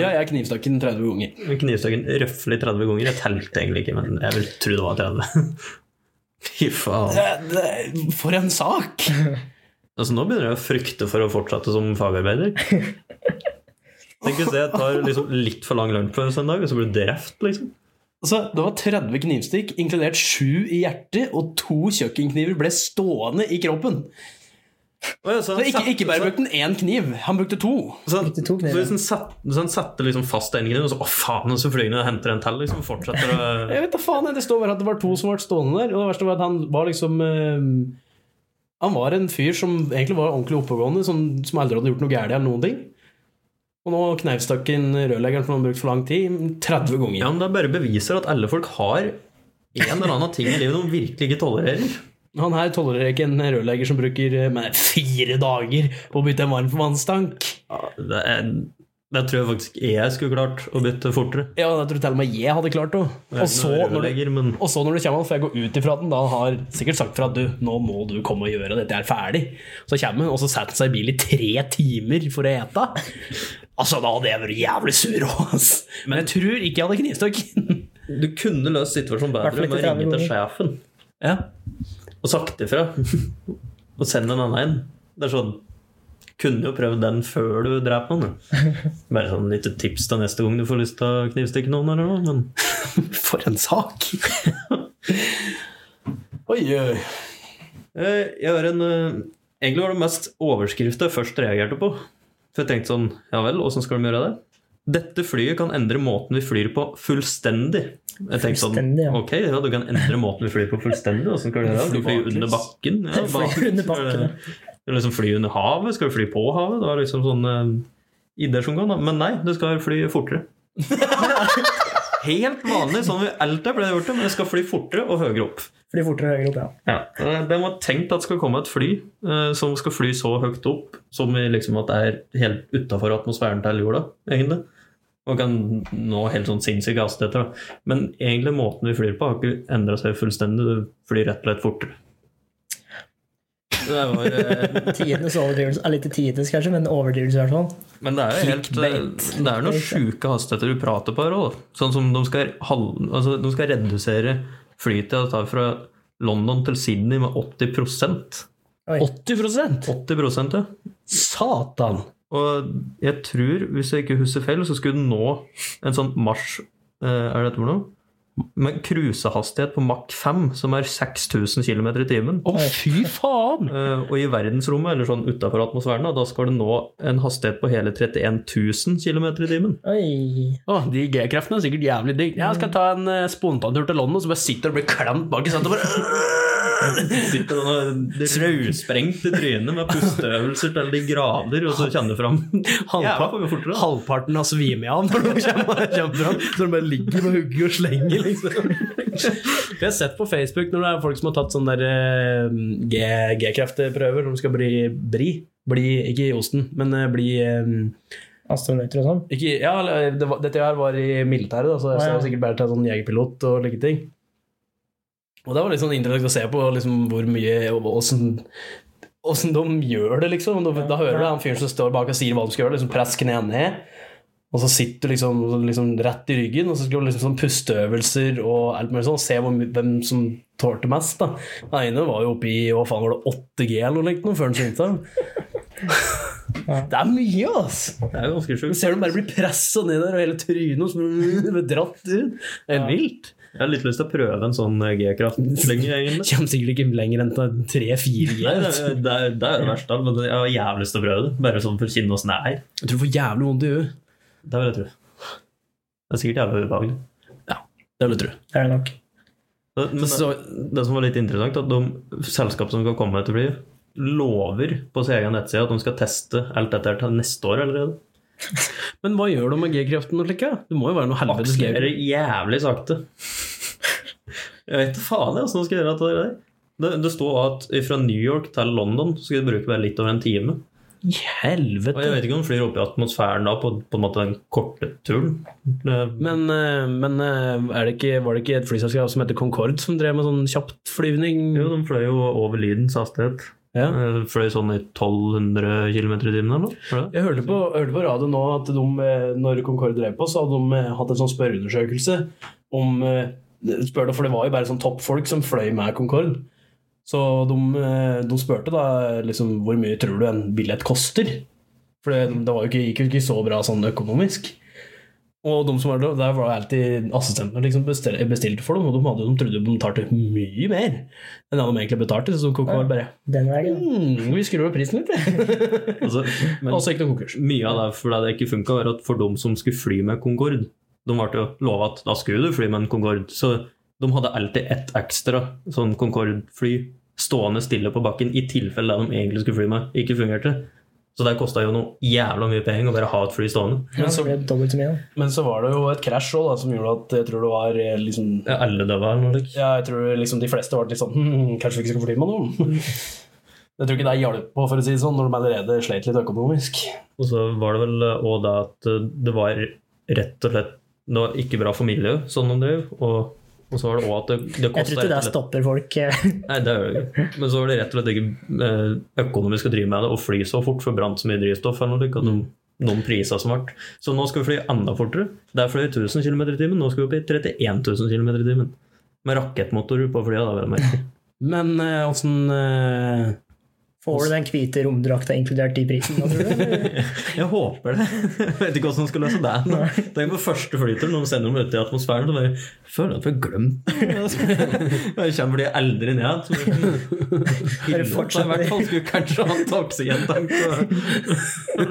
Ja, jeg knivstakk den 30 ganger.
Knivstøkken røffelig 30 ganger. Jeg telte egentlig ikke, men jeg vil tro det var 30. Fy faen.
Det- det- For en sak!
Altså, nå begynner jeg å frykte for å fortsette som fagarbeider. Tenk hvis jeg tar liksom litt for lang lunsjpause en dag, og så blir du drept, liksom.
Altså, det var 30 knivstikk, inkludert 7 i hjertet, og to kjøkkenkniver ble stående i kroppen.
Å ja, så
Så
han
ikke,
satte-
ikke bare brukte han én kniv, han brukte to.
så han-
Brukte to kniver.
så hvis han satt- så han setter liksom fast en kniv, og så å faen, og så flyr han og henter en til, liksom, fortsetter å
Jeg vet da faen, jeg, det står bare at det var to som ble stående der, og det verste var at han var liksom eh, Han var en fyr som egentlig var ordentlig oppegående, som, som aldri hadde gjort noe gærent eller noen ting. Og nå knivstakk han rørleggeren som han brukte for lang tid, 30 ganger.
Ja, men det bare beviser at alle folk har en eller annen ting i livet de virkelig ikke tolererer.
Han her tolererer ikke en rørlegger som bruker eh, men, fire dager på å bytte en varmtvannstank.
Ja, det, er, det tror jeg faktisk jeg skulle klart å bytte fortere.
Ja, det tror jeg til og med jeg hadde klart det. Og så, når det,
rørlegger, men
og så når det kommer han, for jeg går ut ifra at han da har sikkert sagt fra at du, nå må du komme og gjøre dette, jeg er ferdig. Så kommer han, og så setter han seg i bil i tre timer for å ete. Altså, da hadde jeg vært jævlig sur også, ass. Men jeg tror ikke jeg hadde knivstukket.
du kunne løst situasjonen bedre
Hvertfall ikke
med å ringe
30
til sjefen
Ja.
og sagt ifra. og send en annen en. Det er sånn Kunne jo prøvd den før du dreper noen. da. Bare sånn lite tips til neste gang du får lyst til å knivstikke noen eller noe. Men
For en sak. Oi, oi.
Eh, Jeg har en eh, Egentlig var det mest overskrifter jeg først reagerte på. For jeg tenkte sånn Ja vel, åssen skal de gjøre det? Dette flyet kan endre måten vi flyr på fullstendig. Jeg tenkte sånn,
Fullstendig, ja.
ok, ja, Du kan endre måten vi flyr på fullstendig. Åssen skal du gjøre det? Skal du fly
Fly
under
baklys.
bakken? Ja,
Fly under bakken, ja.
Skal du liksom fly under havet? Skal du fly på havet? Det var liksom sånne eh, ideer som går. da. Men nei, du skal fly fortere. Helt vanlig, sånn vi alltid pleier å gjøre det, men det skal fly fortere og høyere opp.
Fly fortere og høyere opp, ja.
Ja, eh, Den var tenkt at det skal komme et fly eh, som skal fly så høyt opp som i liksom at det er helt utafor atmosfæren til jorda, egentlig. Og kan nå helt sånn sinnssyke hastigheter. da. Men egentlig måten vi flyr på, har ikke endra seg fullstendig. Du flyr rett og slett fortere. Det var, eh,
Tidenes overdrivelse. Ja, litt tidenes, kanskje, men overdrivelse i hvert fall.
men det er jo helt eh, Det er noen sjuke hastigheter du prater på her òg. Sånn som de skal, hal- altså, de skal redusere flytida det tar fra London til Sydney med 80
80
80 ja.
Satan!
Og jeg tror, hvis jeg ikke husker feil, så skulle den nå en sånn marsj eh, Er det dette for noe? Med krusehastighet på Mach 5, som er 6000 km i timen.
Å, fy faen!
Eh, Og i verdensrommet, eller sånn utafor atmosfæren, da, da skal den nå en hastighet på hele 31 000 km i timen.
Oi.
Å, de G-kreftene er sikkert jævlig digg. Jeg skal ta en eh, spontantur til London, så bare sitter og blir klemt bak i setet og bare
Sitter den og rødsprengt i trynet med pusteøvelser til de grader, og så kjenner du fram Jævla, får vi fortere, da.
Halvparten har svimt av når de kommer, kommer fram. Så de bare ligger med hugget og slenger, liksom. Jeg har sett på Facebook når det er folk som har tatt sånne der, eh, G- G-kreftprøver, som skal bli bri. Bli, ikke i osten, men eh, bli eh,
Astronauter og sånn.
Ikke, ja, eller, det var, dette her var i militæret, da, så jeg
Å, ja.
var sikkert bare til sånn jegerpilot og like ting. Og det var litt sånn interessant å se på liksom, hvor mye og åssen Åssen de gjør det, liksom. Da, da hører du han fyren som står bak og sier hva de skal gjøre, liksom press knærne ned. Og så sitter du liksom, liksom rett i ryggen, og så skal du liksom sånn pusteøvelser og alt mulig sånn, og se hvor, my- hvem som tålte mest. da. Den ene var jo oppe i hva faen var det, 8G eller noe likt nå, før han svingte. Det er mye, altså!
Det er jo ganske
Du
sjukt.
ser dem bare bli pressa ned der, og hele trynet og så blir dratt ut. Det er vilt.
Jeg har litt lyst til å prøve en sånn eh, G-kraftslynge, egentlig.
Kommer sikkert ikke lenger enn til tre-fire
Nei,
G.
det, er- det, er- det er jo det verste, av det, men jeg har jævlig lyst til å prøve det. Bare sånn for å kjenne åssen det er.
Jeg tror du får jævlig vondt i huet.
Det vil jeg tro. Det er sikkert jævlig ubehagelig.
Det vil jeg tro.
Det er det nok.
Det- Men
Så-
det, det som var litt interessant, at de selskapene som skal komme etter flyet, lover på sin egen nettside at de skal teste alt dette her til neste år allerede.
Men hva gjør du med G-kreften og slike? Det må jo være noe helvetes
Det er
G.
jævlig sakte. Jeg vet da faen jeg, åssen de skal gjøre dette der. Det, det står at fra New York til London så skal det bruke bare litt over en time.
I
Og jeg
helvete!
vet ikke om den flyr opp i atmosfæren da, på, på en måte den korte turen. Det-
Men, eh, men eh, er det ikke, var det ikke et flyselskap som heter Concorde som drev med sånn kjapptflyvning?
Jo, de fløy jo over lydens hastighet.
Mm. Ja.
Eh, Fløy sånn i 1200 km i timen eller noe? Var det det?
Jeg hørte på, hørte på radio nå at de, eh, når Concorde drev på, så hadde de eh, hatt en sånn spørreundersøkelse om eh, spør det, For det var jo bare sånn toppfolk som fløy med Concorde. Så de, eh, de spurte da liksom hvor mye tror du en billett koster? For det, det var jo ikke, gikk jo ikke så bra sånn økonomisk. Og de som var der, der var alltid assistentene liksom bestil- bestilte for dem, og de, hadde, de trodde de betalte mye mer enn det de egentlig betalte. Så Concorde bare
Den veien.
mm, Vi skrur opp prisen litt.
Altså, men
Og så gikk de konkurs.
mye av det fordi det ikke funka, var at for dem som skulle fly med Concorde De ble jo lova at da skulle du fly med en Concorde, så de hadde alltid ett ekstra sånn Concorde-fly stående stille på bakken i tilfelle det de egentlig skulle fly med, ikke fungerte. Så det kosta jo noe jævla mye penger å bare ha et fly stående.
Ja,
Men så,
det ble dobbelt så mye. da.
men så var det jo et krasj òg, som gjorde at jeg tror det var eh, liksom
Ja, Alle døde eller noe slikt.
Ja, jeg tror liksom de fleste var litt sånn hm, Kanskje vi ikke skal fortelle meg noe? Jeg tror ikke det hjalp på, for å si det sånn, når de allerede sleit litt økonomisk.
Og så var det vel òg det at eh, det var rett og slett Det var ikke bra for miljøet, sånn de drev. Og, og så var det òg at det, det
Jeg tror
kosta
ikke det stopper folk. eh,
Nei, det gjør det ikke. Men så var det rett og slett ikke eh, økonomisk å drive med det og fly så fort, for brant så mye drivstoff eller noe slikt. og Noen, noen priser som ble. Så nå skal vi fly enda fortere. Der fløy 1000 km i timen, nå skal vi opp i 31 000 km i timen. Med rakettmotorer på flyet, da, vil jeg merke.
Men eh, åssen eh,
Får du den hvite romdrakta inkludert i prisen? da, tror du?
Jeg håper det. Jeg vet ikke hvordan de skal løse det. nå. Tenk på første flyturen, når de sender dem ut i atmosfæren, så bare føler jeg at vi har glemt det. Jeg kommer de aldri ned igjen.
Bare
I
fortsetter
hvert
de.
fall skulle kanskje ha en oksygentank. så-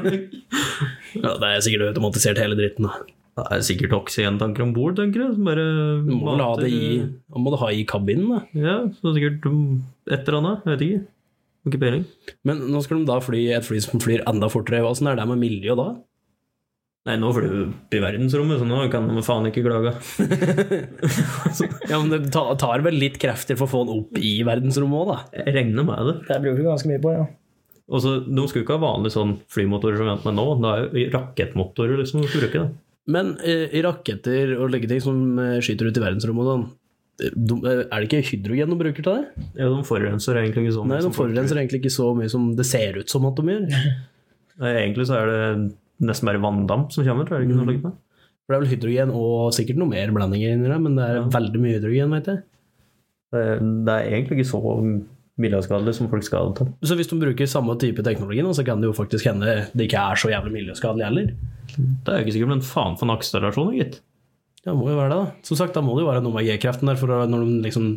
Ja, det er sikkert automatisert hele dritten, da.
Det er sikkert oksygentanker om bord, tenker jeg. Som bare
Du må la det i Man må det ha i kabinen, da.
Ja, så sikkert um, et eller annet. Jeg vet ikke. Har Ikke peiling.
Men nå skal de da fly et fly som flyr enda fortere. Åssen er det med miljøet da?
Nei, nå flyr du opp i verdensrommet, så nå kan de faen ikke klage.
Ja, men Det ta- tar vel litt krefter for å få den opp i verdensrommet òg, da.
Jeg regner med det.
Det bruker du ganske mye på, ja.
Og så, De skulle ikke ha vanlige sånn flymotorer som vi venter med nå. Det er jo rakettmotorer liksom, de skal bruke. det.
Men eh, i raketter og slike ting som eh, skyter ut i verdensrommet og sånn, eh, de- eh, er det ikke hydrogen de bruker til det?
Ja, De forurenser egentlig ikke sånn.
Nei, de
som folk tror.
forurenser egentlig ikke så mye som det ser ut som at de gjør.
Nei, Egentlig så er det nesten bare vanndamp som kommer. Tror jeg,
Mm.
ikke noe slikt med.
For det er vel hydrogen og sikkert noe mer blandinger inni det, men det er veldig mye hydrogen, vet jeg.
det, det er egentlig ikke så miljøskadelig som folk skal ha det til.
Så hvis de bruker samme type teknologi nå, så kan det jo faktisk hende det ikke er så jævlig miljøskadelig heller.
Det er jo ikke sikkert, men faen for en akselerasjon, gitt.
Ja, det må jo være det, da. Som sagt, da må det jo være noe med G-kraften der, for å- når de liksom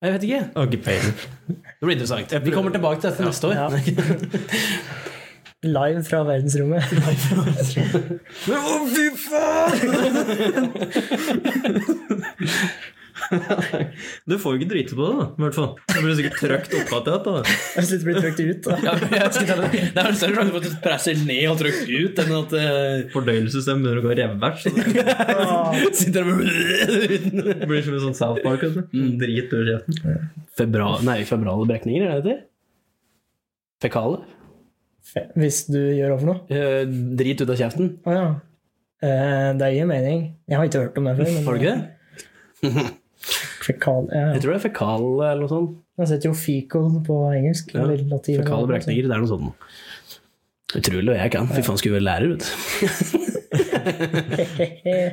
Jeg vet ikke.
Har Ikke peiling.
Det blir interessant. Vi kommer tilbake til dette neste år.
Ja. Live fra verdensrommet.
Å, fy faen!
Du får jo ikke drite på det, da. I hvert fall. Det blir sikkert trøkt opptatt i det.
Jeg synes det blir trukket ut. Da.
Ja, men jeg skal ta det. det er vel større sjanse for at du presser ned og trykker ut enn at uh,
Fordøyelsessystemet begynner å gå i revers. Så det
sitter der med
blir som en sånn South Park. vet du.
Mm.
Drit over kjeften.
Febral, Nei, febrale brekninger, er det det? heter? Fekale?
Hvis du gjør over noe.
Eh, drit ut av kjeften.
Å ja. Eh, Det gir mening. Jeg har ikke hørt om det før. Men
Har du ikke det?
Fekal, ja.
Jeg tror det er fekale eller noe sånt.
Jeg setter jo fecal på engelsk.
Ja,
Eller latin. eller
Fekale
noe sånt.
brekninger, det er noe sånt. Utrolig hva jeg kan. Fy faen, skulle vært lærer, vet du.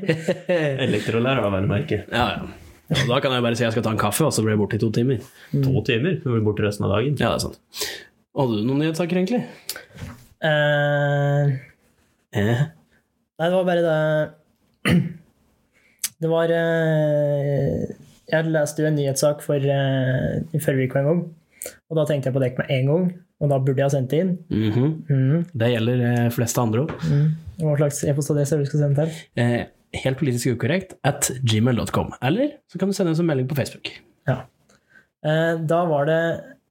Elektrolærer har vel merke.
Ja, ja. Ja, da kan jeg bare si jeg skal ta en kaffe, og så blir jeg borte i to timer.
To timer. Du blir borte resten av dagen.
Ja, det er sant. Hadde du noen nyhetssaker, egentlig?
Eh,
Eh.
Nei, det var bare det Det var eh, Jeg leste jo en nyhetssak for, eh, i forrige uke en gang. Og da tenkte jeg på dere med en gang, og da burde jeg ha sendt det inn.
Mhm.
Mm.
Det gjelder eh, fleste andre òg.
Hva slags e-postadresse er det du skal sende til?
eh, helt politisk ukorrekt at gmail.com. Eller så kan du sende oss en melding på Facebook.
Ja. Eh, Da var det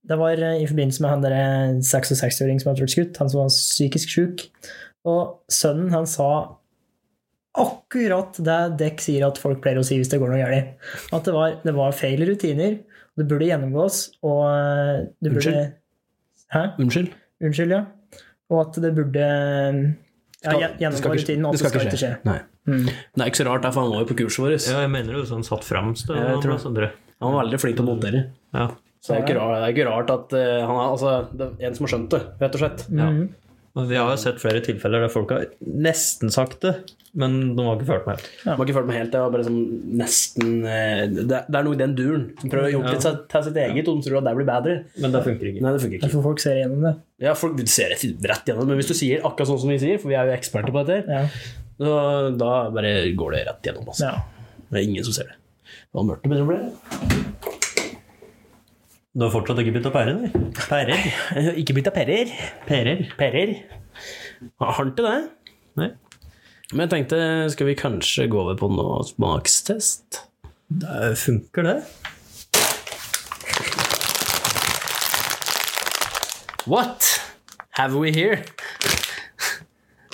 Det var eh, i forbindelse med han derre 66-åring som hadde blitt skutt, han som var psykisk sjuk. Og sønnen, han sa akkurat det dekk sier at folk pleier å si hvis det går noe galt. At det var, det var feil rutiner, Det burde gjennomgås, og eh, det burde
Unnskyld?
Hæ?
Unnskyld.
Unnskyld, ja. Og at det burde eh, ja,
Skal- det
gjen-
skal
gjennomgå
ikke-
rutinen, og at det skal ikke skje.
Nei.
Mm.
Det er ikke så rart, da, for han var jo på kurset vårt.
Ja, jeg mener det sånn satt fremst.
Ja, jeg
Ja,
tror det.
Sondre.
Han var veldig flink til å montere.
Ja.
Så det er ikke rart, det er ikke rart at eh, han er altså, det er en som har skjønt det, rett og slett.
Mm.
Ja. Men Vi har jo sett flere tilfeller der folk har nesten sagt det, men de har ikke følt med.
Jeg har ikke følt meg helt, jeg var bare sånn nesten eh, Det, det er noe i den duren. Som prøver å jobbe litt seg- til sitt eget, og de tror at det blir bedre.
Men det funker ikke.
Nei, det funker
Jeg
ikke.
tror folk ser igjennom det.
Ja, folk ser rett, rett gjennom, men hvis du sier akkurat sånn som vi sier, for vi er jo eksperter på dette,
Ja.
da, da bare går det rett gjennom. Altså.
ja.
Det er ingen som ser det. Det var mørkt det begynner å bli.
Du har fortsatt ikke begynt å pære, nei? Pærer?
Jeg har Ikke blitt av perrer.
Pærer?
Perrer. Har han til det?
Nei.
Men jeg tenkte, skal vi kanskje gå over på noe smakstest?
Det funker, det.
What have we here?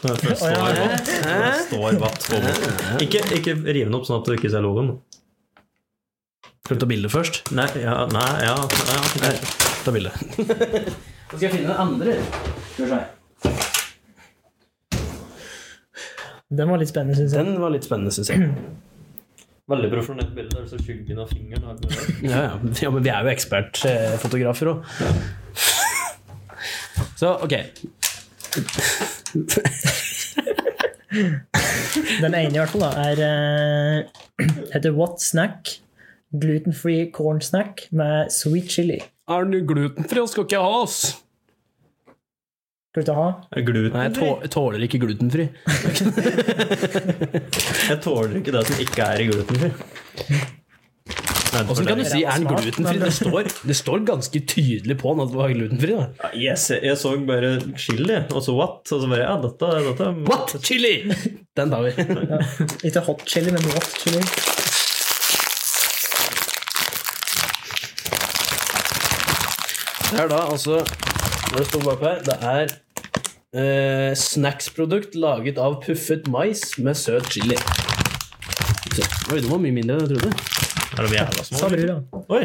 Det
Å, ja,
står
ja.
vatt. Det står vatt på den. Ikke, ikke riv den opp sånn at du ikke ser logoen.
Skal vi ta bilde først?
Nei, ja, nei, ja, nei, ja. nei.
Ta bilde. Da skal jeg finne den andre. Skal vi se.
Den var litt spennende, syns jeg.
Den var litt spennende, syns jeg.
Veldig profesjonelt bilde. Der du ser skyggen av fingeren. her på det.
Ja, ja. ja, men vi er jo ekspertfotografer òg. Så ok.
Den ene i hvert fall da, er eh, heter What Snack? Gluten-free corn snack med sweet chili.
Er den glutenfri og skal ikke ha oss?
Skal du ta ha?
Nei, jeg
Gluten.
tå- tåler ikke glutenfri.
Jeg tåler ikke det som ikke er i glutenfri.
Åssen kan du si er den glutenfri? Det står, det står ganske tydelig på den at den var glutenfri. da.
Yes, jeg jeg så bare chili, og så what? Og så bare ja, dette, dette.
What? Chili! Den tar vi.
Ja. Ikke hot chili, men what chili.
Det er da altså Når det står bak her Det er eh, snacksprodukt laget av puffet mais med søt chili. Så, oi, det var mye mindre enn jeg trodde.
Er de jævla små?
Sa brura.
Oi!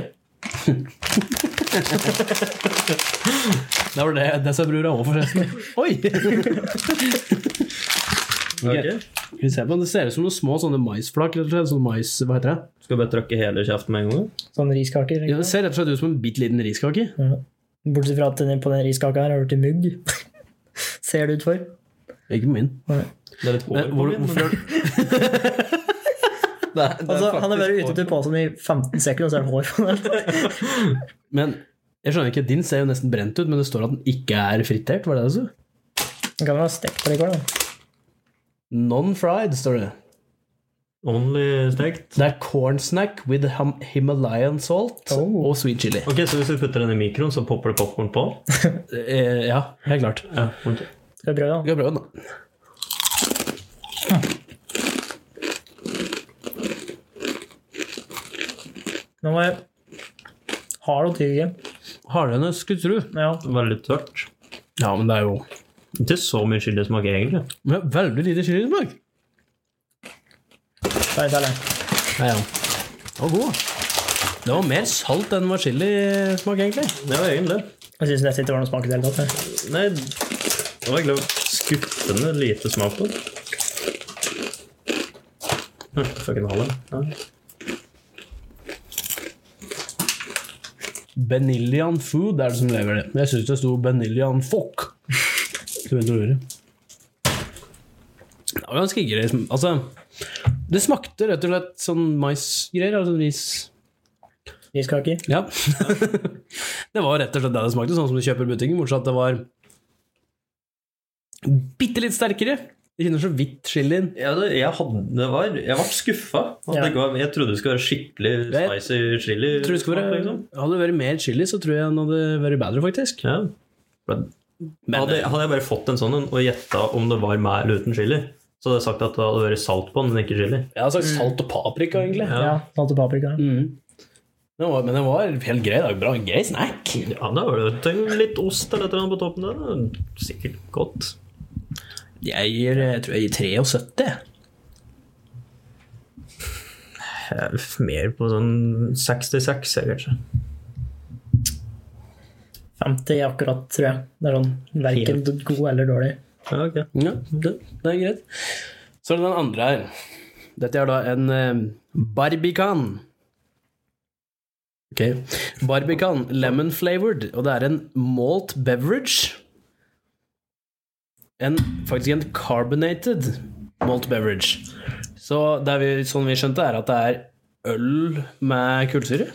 Det var det det sa brura òg, forresten. Oi!
Ok.
Skal vi se på, Det ser ut som noen små sånne maisflak. rett og slett, Sånn mais, hva heter det?
Skal bare trykke hele kjeften med en gang?
Sånne riskaker.
Ja,
ikke
det
sant?
ser rett og slett ut som en bitte liten riskake.
Ja. Bortsett fra at den på den riskaka her har blitt mugg. Ser det ut for.
Ikke på min.
Nei.
Det er litt hår
Men,
på
hvor,
min, men-
hvorfor
Altså, han har vært ute til posen sånn i 15 sekunder, og så er det hår på den.
Men jeg skjønner ikke, din ser jo nesten brent ut, men det står at den ikke er fritert. Var det altså? det du sa?
Den kan være stekt på det i går, da.
Non-fried, står det.
Only stekt.
Det er corn snack with hum- Himalayan salt
Oh.
og sweet chili.
Ok, Så hvis vi putter den i mikroen, så popper det popkorn på?
Eh, ja, helt klart. Vi
Ja, ok.
Skal vi prøve, da?
kan prøve den, da.
Nå må jeg Hard og tygg.
Hardere enn jeg skulle tro.
Ja.
Veldig tørt.
Ja, men det er jo
Ikke så mye chilismak, egentlig.
men det er veldig lite chilismak.
Der er det lenge.
Ja, ja. Den var god. Det var mer salt enn var chilismak, egentlig.
Ja, egentlig.
Jeg syns nesten ikke det var noe smak i det hele tatt. jeg.
Nei, det var egentlig skuffende lite smak på det. Hm, Fucking halve. Ja.
Benillian food er det som lever det. Men Jeg syns det sto Benillian fuck. Så vet du hva det er. Det var ganske greit. Altså, det smakte rett og slett sånn maisgreier. Altså ris.
Riskaker.
Ja. det var rett og slett det det smakte, sånn som du kjøper i butikken, bortsett fra at det var bitte litt sterkere. Det kjenner så vidt chilien.
Ja, det, jeg, hadde, det var, jeg ble skuffa. At
Ja.
det ga- Jeg trodde det skulle være skikkelig
Det-
spicy chili.
Jeg tror det skulle være-
liksom.
Hadde det vært mer chili, så tror jeg den hadde vært bedre, faktisk.
ja.
Men
hadde,
det,
hadde jeg bare fått en sånn en og gjetta om det var med eller uten chili, så hadde jeg sagt at det hadde vært salt på den, men ikke chili.
jeg hadde sagt salt og paprika, egentlig.
Ja.
Ja. Salt og paprika.
Mm. Den var, men den var helt grei. Da. Bra, grei snack.
Ja, da var det jo tenk litt ost eller et eller annet på toppen. der, Det er sikkert godt.
Jeg, gir, jeg tror jeg gir 73.
Eh, Jeg er mer på sånn 66, jeg, kanskje.
50 akkurat, tror jeg. Det er sånn verken god eller dårlig.
Ja, ok.
Ja, det, det er greit. Så er det den andre her. Dette er da en eh, barbican. Ok. Barbican lemon flavored, og det er en malt beverage. En, faktisk en carbonated malt beverage. Så det er vi, sånn vi skjønte, er at det er øl med kullsyre.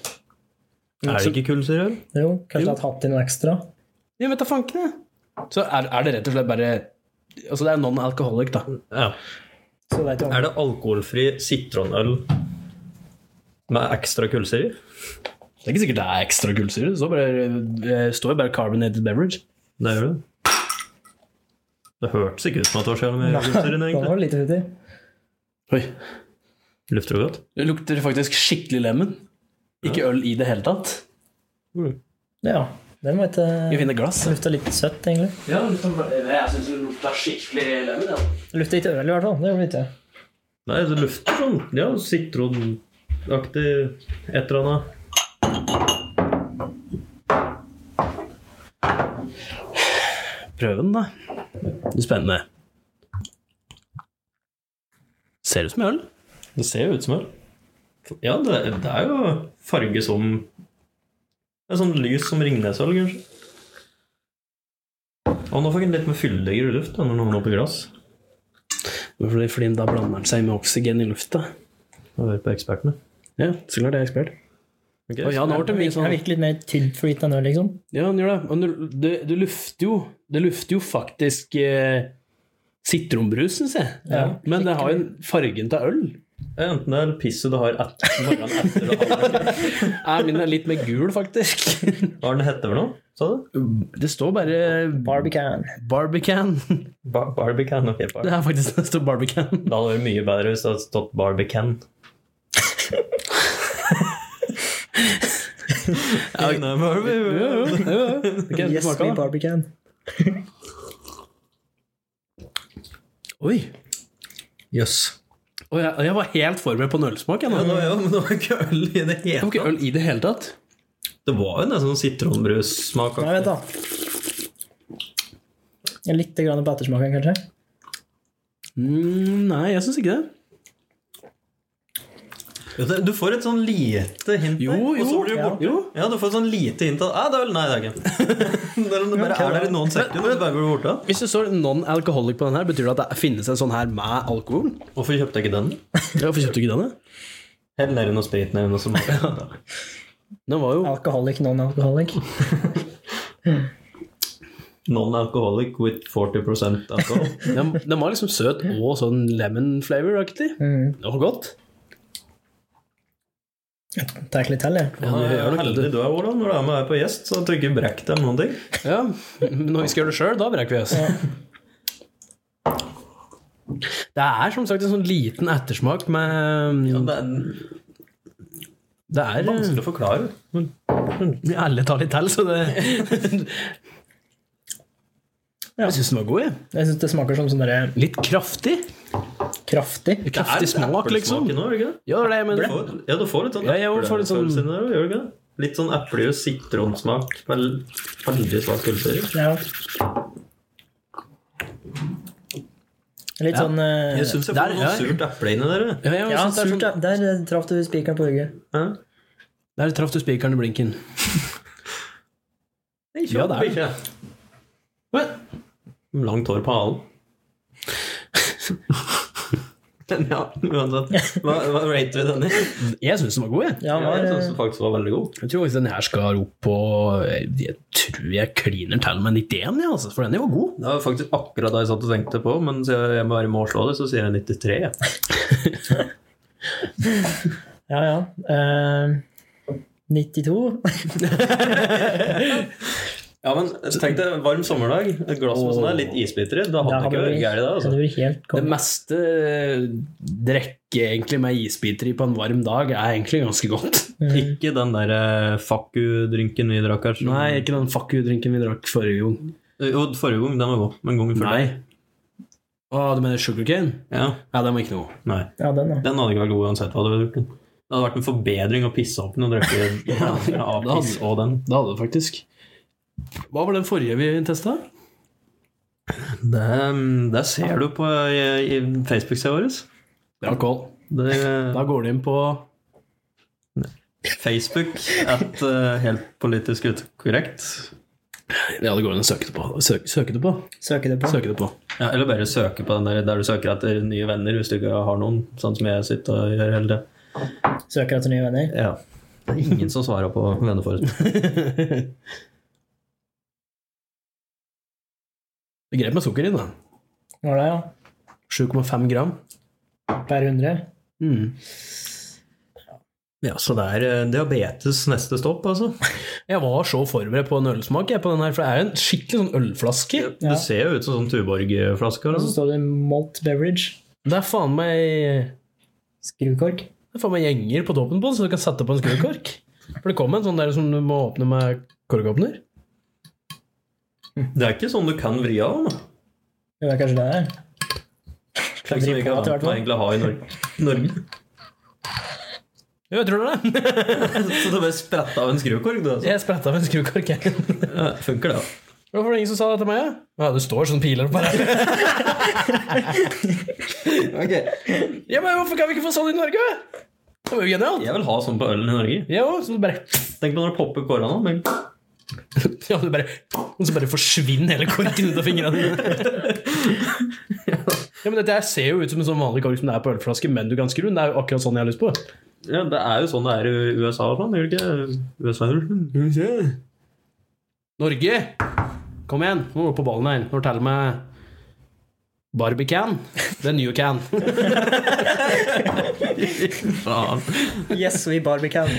Er det ikke kullsyre? øl?
Jo, kanskje jeg har hatt i noe ekstra.
Jeg vet da fanken, jeg. Så er, er det rett og slett bare Altså, det er non-alcoholic, da.
Ja.
Så det er ikke
Er det alkoholfri sitronøl med ekstra kullsyre?
Det er ikke sikkert det er ekstra kullsyre. Det står bare, det står bare 'carbonated beverage'.
Det gjør det. Det hørtes ikke ut som at det var så jævlig mye kullsyre i den,
Da var
egentlig.
det litt uti.
Oi.
Lukter det godt?
Det lukter faktisk skikkelig lemen. Ikke øl i det hele tatt.
Mm. Ja. Den var ikke
Vi finner glass.
Det lukta litt søtt, egentlig.
Ja, jeg syns det lukta skikkelig lemen. Ja.
Det lukta ikke øl, i hvert fall. Det gjorde det ikke.
Nei, det lukter sånn ja, sitronaktig et eller annet.
Prøv den, da. Det er spennende. Ser ut som øl.
Det ser jo ut som øl. Ja, det, det er jo farge som Det er sånn lys som Ringnesøl, kanskje. Og nå fikk en litt med fyldigere luft da, når noen oppi glass.
Fordi, fordi da blander den seg med oksygen i lufta.
Og hører på ekspertene.
Ja, så klart det er ekspert.
Ok,
Og ja, nå ble det
Det
mye
virker- det
sånn
virker litt mer tynnflytende enn øl, liksom.
Ja, den gjør det. Og du, du, du lufter jo Det lufter jo faktisk eh, sitronbrus, syns jeg.
Ja,
Men det har jo fargen til øl.
Enten det er pisset det har etter morgenen etter det har
Jeg min er litt mer gul, faktisk.
Hva er den hette for noe? Sa du?
Det står bare
Barbican.
Barbican.
Ba Barbican. Ok, bar.
Det er faktisk det står Barbican.
Det hadde vært mye bedre hvis det hadde stått Barbican. Nei,
Ja,
Barbie-
ja, ja, ja. Ok, det
Yes,
smaker da.
we barbican.
Oi.
Jøss.
Og jeg, jeg var helt forberedt på en ølsmak. Jeg,
Ja,
nå.
nå- ja, men det var ikke øl i det
Det
hele
var ikke øl i det hele tatt.
Det var jo nesten sånn sitronbrussmak.
Nei, vent, da. Litt grann på ettersmaken, kanskje.
Mm, nei, jeg syns ikke det.
Ja, det- Du får et sånn lite hint der,
Jo,
og så
jo,
blir du
ja,
borte.
jo.
Ja, du får et sånn lite hint av Nei, det er øl. Nei, det er ikke Det er om det bare er der i noen sekunder, og bare blir borte.
Hvis det står non-alcoholic på den her, betyr det at det finnes en sånn her med alkohol?
Hvorfor kjøpte jeg ikke den?
Ja, Hvorfor kjøpte du ikke denne?
Hell nedi noe sprit nedi noe som
Den var jo
Alkoholic, non-alkoholic.
Non-alcoholic with 40 alcohol.
Den, den var liksom søt og sånn lemon flavor-aktig.
Mm.
Det var godt.
Tar litt til, jeg.
Ja, du
Ja,
gjør nok det,
heldig du er, Olav, når du er med her på gjest, så at du ikke brekker deg med noen ting.
du. Ja, men når vi skal gjøre det sjøl, da brekker vi oss. Det er som sagt en sånn liten ettersmak med
Det er
Det er eh,
vanskelig å forklare.
Alle tar litt til, så det Jeg syns den var god, jeg.
Jeg syns det smaker som sånn derre
Litt kraftig.
kraftig.
Kraftig smak, liksom.
Nå, er det ikke det?
Ja, det er det jeg
Du
mener.
får- ja, du får litt sånn
Ja, jeg får litt sånn-
eplefølelse inni der, gjør du ikke det? Litt sånn eple- og sitronsmak. Vel- Veldig svak kullsyre.
Ja. Litt
Ja.
sånn eh,
Jeg syns jeg
Der,
får
ja.
noe surt eple inni der. jeg.
Ja, ja, jeg
Ja,
synes det er
surt.
sånn-
ja. Der eh, traff du spikeren på hugget.
Hæ?
Der traff du spikeren i blinken. Ja, det er det. Men-
Langt hår på halen. Men ja, uansett. Hva, hva rater vi denne?
Jeg syns den var god, jeg.
Ja, han
Ja,
var,
jeg
eh,
syns den faktisk var veldig god.
Jeg tror faktisk den her skal opp på Jeg tror jeg kliner til med 91, jeg, altså, for den var god.
Det var faktisk akkurat det jeg satt og tenkte på, men siden jeg bare må slå det, så sier jeg 93. jeg.
ja. ja. Eh, 92.
Ja, men tenk deg varm sommerdag, et glass med sånn her, litt isbiter i. Da
Da
hadde det
hadde
ikke vært
vi-
gærent, det.
hadde
Altså.
det vært helt
Det
konge.
meste eh, drikke egentlig med isbiter i på en varm dag er egentlig ganske godt.
Ikke den der eh, fuck you-drinken vi drakk her. som- Eh,
Nei, ikke den fuck you-drinken vi drakk forrige gang.
Jo, forrige gang, den var god. Men gangen før
Nei.
der.
Å, du mener sugarcane?
Ja,
Ja, den var ikke noe.
nei.
Ja, den, da.
Den hadde ikke vært god uansett hva du hadde gjort. Det hadde vært en forbedring å pisse opp den og drikke ja, av
det hadde-
piss og den.
Det hadde det faktisk. Hva var den forrige vi testa?
Det, mm, det ser du på eh, i, i Facebook-sida vår.
Bra call.
Det,
Da går du inn på
Facebook at eh, helt politisk ukorrekt.
Ja, det går an å søke det på. Søk, søke det på.
Søke det på.
Søke det på.
Ja, eller bare søke på den der der du søker etter nye venner hvis du ikke har noen, sånn som jeg sitter og gjør hele tiden.
Søker etter nye venner.
Ja. Det er ingen som svarer på venneforespørsel.
Grep med sukker i den. da.
Var det, ja.
7,5 gram.
Per 100.
Mm.
Ja, så det er eh, diabetes neste stopp, altså.
Jeg var så forberedt på en ølsmak, jeg, på den her, for det er jo en skikkelig sånn ølflaske.
Ja.
Det ser jo ut som sånn Tuborg-flasker.
Og så
Altså.
står det malt beverage.
Det er faen meg
Skrukork.
Det er faen meg gjenger på toppen på den, så du kan sette på en skrukork. For det kom en sånn der som du må åpne med korkåpner.
Mm.
Det er ikke sånn du kan vri av den. da.
Det var kanskje det der.
Slik som vi
vri på etter
Liksom, ikke er vant
hvert
med
fall.
egentlig å ha i Nor- Norge.
Jo, jeg tror det er det.
Så det bare spretta av en skrukork, det. Altså.
Jeg spretta av en skrukork, jeg.
Ja, funker, det. da.
Hvorfor er det ingen som sa det til meg? Ja, det står sånn piler på her. Ja, men hvorfor kan vi ikke få sånn i Norge? Det var jo genialt.
Jeg vil ha sånn på ølen i Norge.
Ja, så du bare
Tenk på når det popper korona. Men...
Ja, du bare Og så bare forsvinner hele korken ut av fingrene dine. Ja, men dette her ser jo ut som en sånn vanlig kork som det er på ølflaske, men du kan skru den. Det er jo akkurat sånn jeg har lyst på.
Ja, det er jo sånn det er i USA og sånn. Gjør det ikke USA?
Mm.
Norge! Kom igjen, nå må du på ballen her. Nå teller med Barbican. Det er new can.
Faen.
Yes, we barbican.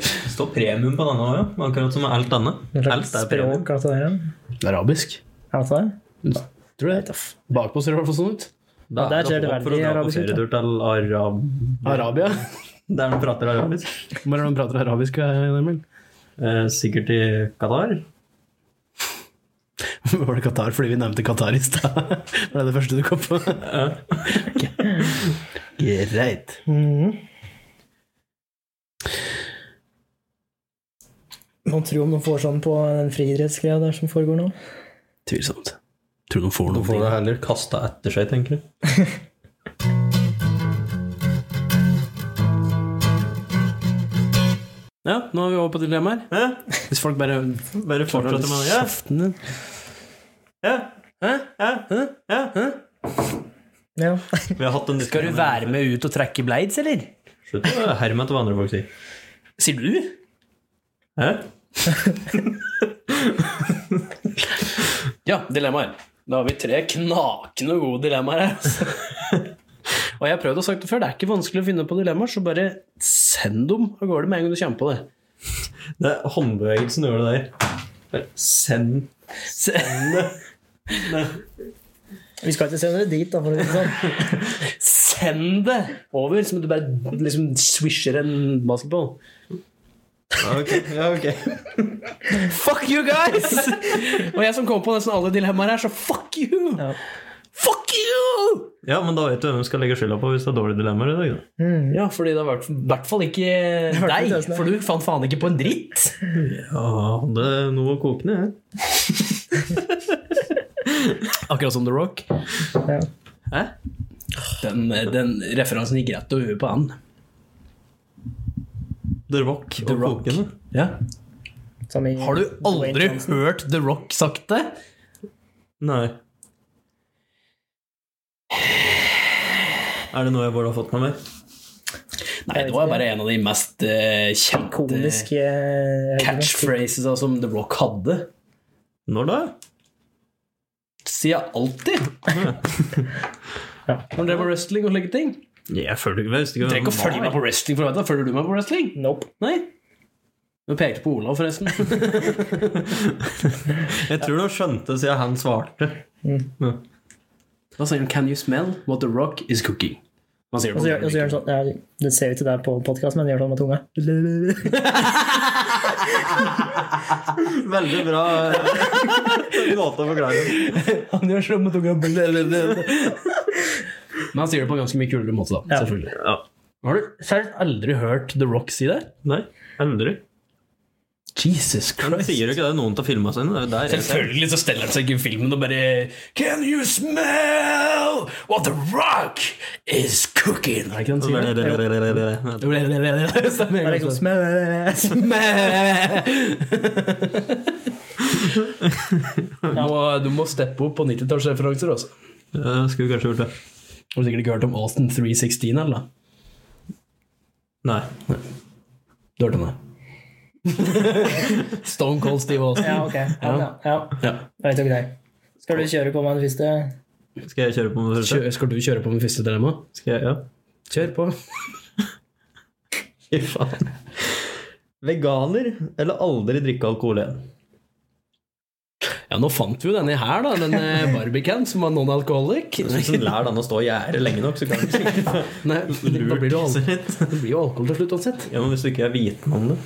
Det står premium på denne òg, ja. Akkurat som med alt annet. Alt er premium.
Språk, alt det der. ja.
Arabisk.
Er det det?
Tror jeg. Bakpå ser det i hvert fall sånn ut.
Da
der
er det
ser det
håp for å
veldig
dra på
arabisk ut, da.
ferietur til Arab...
Arabia.
Der de prater arabisk.
Hvor er det de prater arabisk? Emil?
Eh, sikkert i Qatar.
Var det Qatar fordi vi nevnte Qatar i stad? Var det det første du kom på? Greit.
Mhm. Må tro om de får sånn på den friidrettsgreia der som foregår nå.
Tvilsomt. Tror du de får
Da får
noe?
det heller kasta etter seg, tenker jeg.
Ja, nå er vi over på dilemmaer. Hvis folk bare
Bare fortsetter med det.
Kjeften din.
Ja.
Hæ?
Ja.
Hæ?
Ja.
Hæ?
Ja.
Vi har hatt en
Skal du være med ut og trekke blades, eller?
Slutt å herme etter hva andre folk sier.
Sier du?
Hæ?
Ja, dilemmaer. Da har vi tre knakende gode dilemmaer her. altså. og jeg har prøvd å sagt det før, det er ikke vanskelig å finne på dilemmaer, så bare send dem av gårde med en gang du kommer på det.
Det er håndbevegelsen gjør det der. Bare Send
Se-
Vi skal ikke sende det dit, da, for å si det sånn.
Send det over, som om du bare liksom swisher en basketball.
Ok, ja, ok.
Fuck you guys! og jeg som kommer på nesten alle dilemmaer her, så fuck you!
Ja.
Fuck you!
Ja, men da vet du hvem du skal legge skylda på hvis det er dårlige dilemmaer i dag. da.
Ja, fordi det har vært i hvert fall ikke
vært
deg,
ikke det,
for du fant faen ikke på en dritt.
Ja, det er noe kokende, jeg.
Akkurat som The Rock.
Ja.
Hæ?
Den, den referansen gikk rett over huet på han.
The Rock
The
og
Rock.
kokende.
Ja.
Som i
Har du aldri
Dwayne Johnson.
hørt The Rock sagt det?
Nei. Er det noe jeg burde ha fått med meg?
Nei, det var bare en av de mest eh, kjente
Ikonisk eh,
catchphrases som The Rock hadde.
Når da?
Sier jeg alltid.
Ja.
Når det var wrestling og slike ting.
Jeg følger ikke, jeg visste ikke
Trenger ikke å
hvem
følge
han
meg
var.
på wrestling for å vite det. Følger du meg på wrestling?
Nope.
Nei. Du pekte på Olav, forresten.
Jeg tror du skjønte siden han svarte. Ja.
Da sier han 'Can you smell what the rock is cooking'? Man sier det
Og
på
så gjør og så gjør han sånn ja, Det ser jo ikke der på podkast, men han gjør sånn med tunga.
Veldig bra eh, måte å forklare det.
Han gjør sånn med tunga. Men han sier det på en ganske mye kulere måte, da.
Ja.
Selvfølgelig.
Ja.
Har du selv aldri hørt The Rock si det?
Nei, aldri.
Jesus
Men
Christ.
sier jo ikke det noen av filmene sine. Det er jo der jeg ser.
Selvfølgelig så steller han seg ikke i filmen og bare Can you smell what the rock is cooking? Er det ikke han sier? det?
Det
Stemmer.
Det er liksom smell.
Du må, du må steppe opp på 90-tallsreferanser også.
Skulle vi kanskje gjort det.
Har du sikkert ikke hørt om Austin 316 eller da?
Nei.
Du hørte om det? Stone Cold Steve Austin.
Ja, ok. Ja, ja. ja.
Ja.
Jeg vet ikke det. Skal du kjøre på meg den første?
Skal jeg kjøre på med det første?
Kjø, skal du kjøre på med første dilemma?
Skal jeg, ja.
Kjør på.
Fy faen. Veganer eller aldri drikke alkohol igjen?
Ja, nå fant vi jo denne her, da. Denne Barbican som var non-alcoholic.
Hvis du lærer den å stå i gjerdet lenge nok, så kan du ikke
Nei, da blir det jo, al
litt.
det blir jo alkohol til slutt uansett.
Ja, men hvis du ikke er viten om det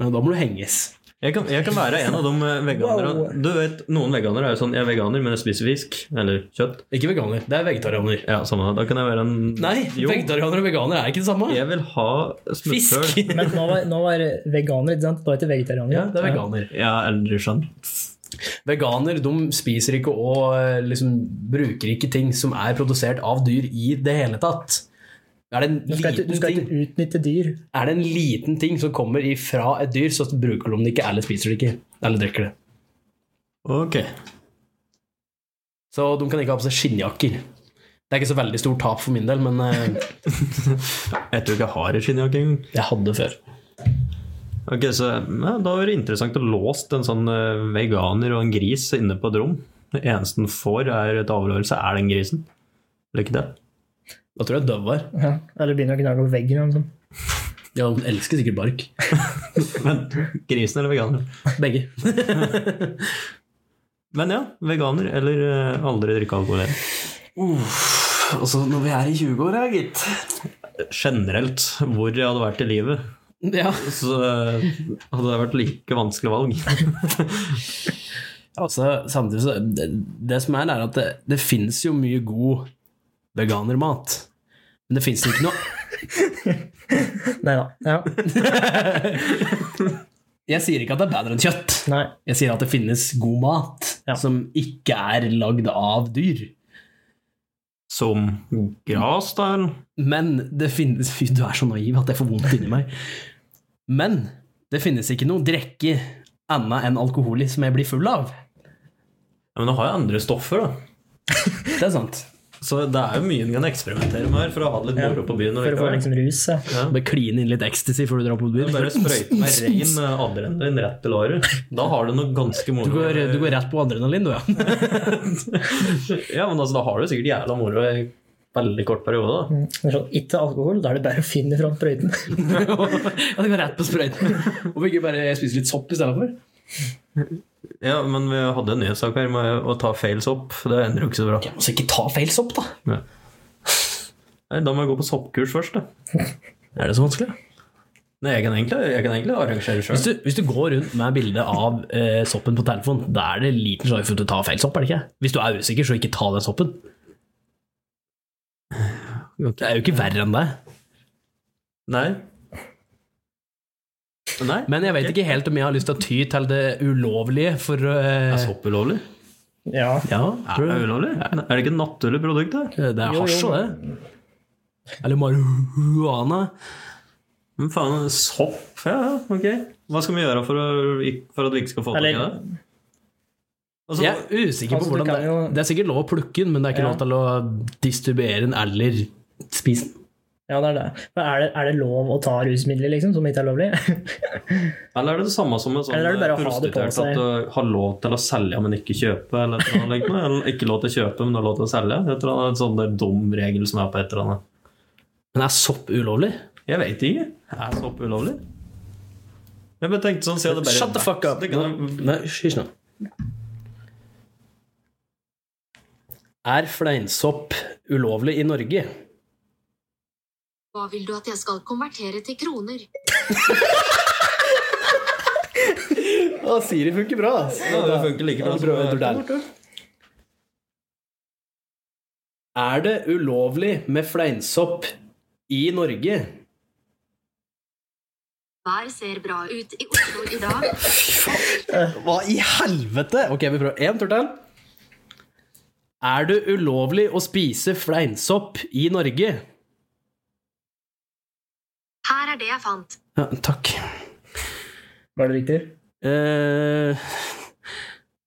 Ja, da må du henges.
jeg kan, jeg kan være en av de eh, veganere
Wow.
Du vet, Noen veganere er jo sånn Jeg er veganer, men jeg spiser fisk. Eller kjøtt.
Ikke veganer. Det er vegetarianer.
Ja, samme Da kan jeg være en
Nei,
Jo,
vegetarianer og veganer er ikke det samme.
jeg vil ha smutthull.
Fisk.
Men nå var, nå var veganer, ikke sant? Nå heter det vegetarianer.
Ja, det er veganer.
Ja, eller sånn.
Veganer de spiser ikke og eh, liksom, bruker ikke ting som er produsert av dyr i det hele tatt. Er det, en
Du skal, ikke,
liten
du skal
ting,
ikke utnytte dyr.
er det en liten ting som kommer ifra et dyr, så bruker de det ikke, eller spiser det ikke, eller drikker det.
Ok.
Så de kan ikke ha på seg skinnjakker. Det er ikke så veldig stort tap for min del, men eh,
Jeg tror ikke jeg har en skinnjakke engang.
jeg hadde før.
Ok, så ja, Da er det interessant å låse en sånn eh, veganer og en gris inne på et rom. Det eneste den får er et avlørelse, er den grisen. Eller ikke det?
Da tror jeg døv var.
Ja. Eller begynner å gnage på veggen. Eller noe sånt.
Ja, de elsker sikkert bark.
Men grisen eller veganer?
Begge.
Men ja, veganer eller eh, aldri drikke alkohol igjen.
Altså, når vi er i 20-åra, gitt.
Generelt, hvor jeg hadde vært i livet,
Ja.
så eh, hadde det vært like vanskelig valg.
Altså, samtidig så det, det som er, er at det, det fins jo mye god veganermat. Men det fins ikke noe
Nei da. Ja.
Jeg sier ikke at det er bedre enn kjøtt.
Nei.
Jeg sier at det finnes god mat
Ja.
som ikke er lagd av dyr.
Som gras, da? eller?
Men det finnes Fy, du er så naiv at jeg får vondt inni meg. Men det finnes ikke noe drikke annet enn alkohol i som jeg blir full av.
Ja, men da har jeg andre stoffer, da.
Det er sant.
Så det er jo mye en kan eksperimentere med her for å ha det litt moro på byen. og
For å få
likevel.
liksom rus. Ja.
Bare kline inn litt ecstasy før du drar på byen.
Bare sprøyte med rein eh, adrenalin rett til låret. Da har du noe ganske moro.
Du går,
eh,
du går rett på adrenalin, du, ja.
Ja, men altså, da har du sikkert jævla moro i veldig kort periode. da.
Mm. Det er Sånn, ikke alkohol, da er det bare å finne fram brøyten.
ja du går rett på sprøyten. Hvorfor ikke bare spise litt sopp istedenfor?
Ja, Men vi hadde en nyhetssak her med å ta feil sopp. Det ender jo ikke så bra.
Ja, men så ikke ta feil sopp, da.
Nei, Da må jeg gå på soppkurs først. da.
Er det så vanskelig?
Nei, Jeg kan egentlig, jeg kan egentlig arrangere
Hvis
sjøl.
du, hvis du går rundt med bilde av eh, soppen på telefonen, da er det liten sjanse for at du tar feil sopp, er det ikke? Hvis du er usikker, så ikke ta den soppen. Det er jo ikke verre enn det.
Nei. Nei.
Men jeg vet ikke helt om jeg har lyst til å ty til det ulovlige for
Er
eh,
sopp ulovlig?
Ja.
Ja,
Er
tror
det
du?
ulovlig? Er det ikke et naturlig produkt? det?
Det er
Jo,
hasj
jo.
og det. Eller marihuana.
Men faen, sopp? Ja, ja, ok. Hva skal vi gjøre for, å, for at vi ikke skal få tak i det?
Eller
Altså,
Jeg er usikker på
Altså, du
hvordan
kan
det
jo-
Det er sikkert lov å plukke den, men det er ikke
Ja.
lov til å distribuere den eller spise den.
ja, det er det. Men er det, er det lov å ta rusmidler, liksom, som ikke er lovlig?
Eller er det det samme som en sånn
Eller er det bare å ha det på
prostituert
seg?
at du har lov til å selge, men ikke kjøpe? Eller, et eller, annet lignende? eller ikke lov til å kjøpe, men du har lov til å selge? Et eller annet, en sånn der dum regel som er på et eller annet.
Men er sopp ulovlig?
Jeg vet ikke. Er sopp ulovlig? Jeg bare tenkte sånn, si at det bare
Shut the fuck up!
Det kan,
Nei, hysj nå. Er fleinsopp ulovlig i Norge?
Hva vil du at jeg skal konvertere til kroner?
Å, Siri funker bra, ass.
ja, det funker like bra
Ja, prøver jeg
som
der. Er det ulovlig med fleinsopp i Norge?
Vær ser bra ut i Oslo i dag.
Hva i helvete? Ok, vi prøver en tur til. Er det ulovlig å spise fleinsopp i Norge?
Her er det jeg fant.
Ja, takk.
Var det riktig?
Eh,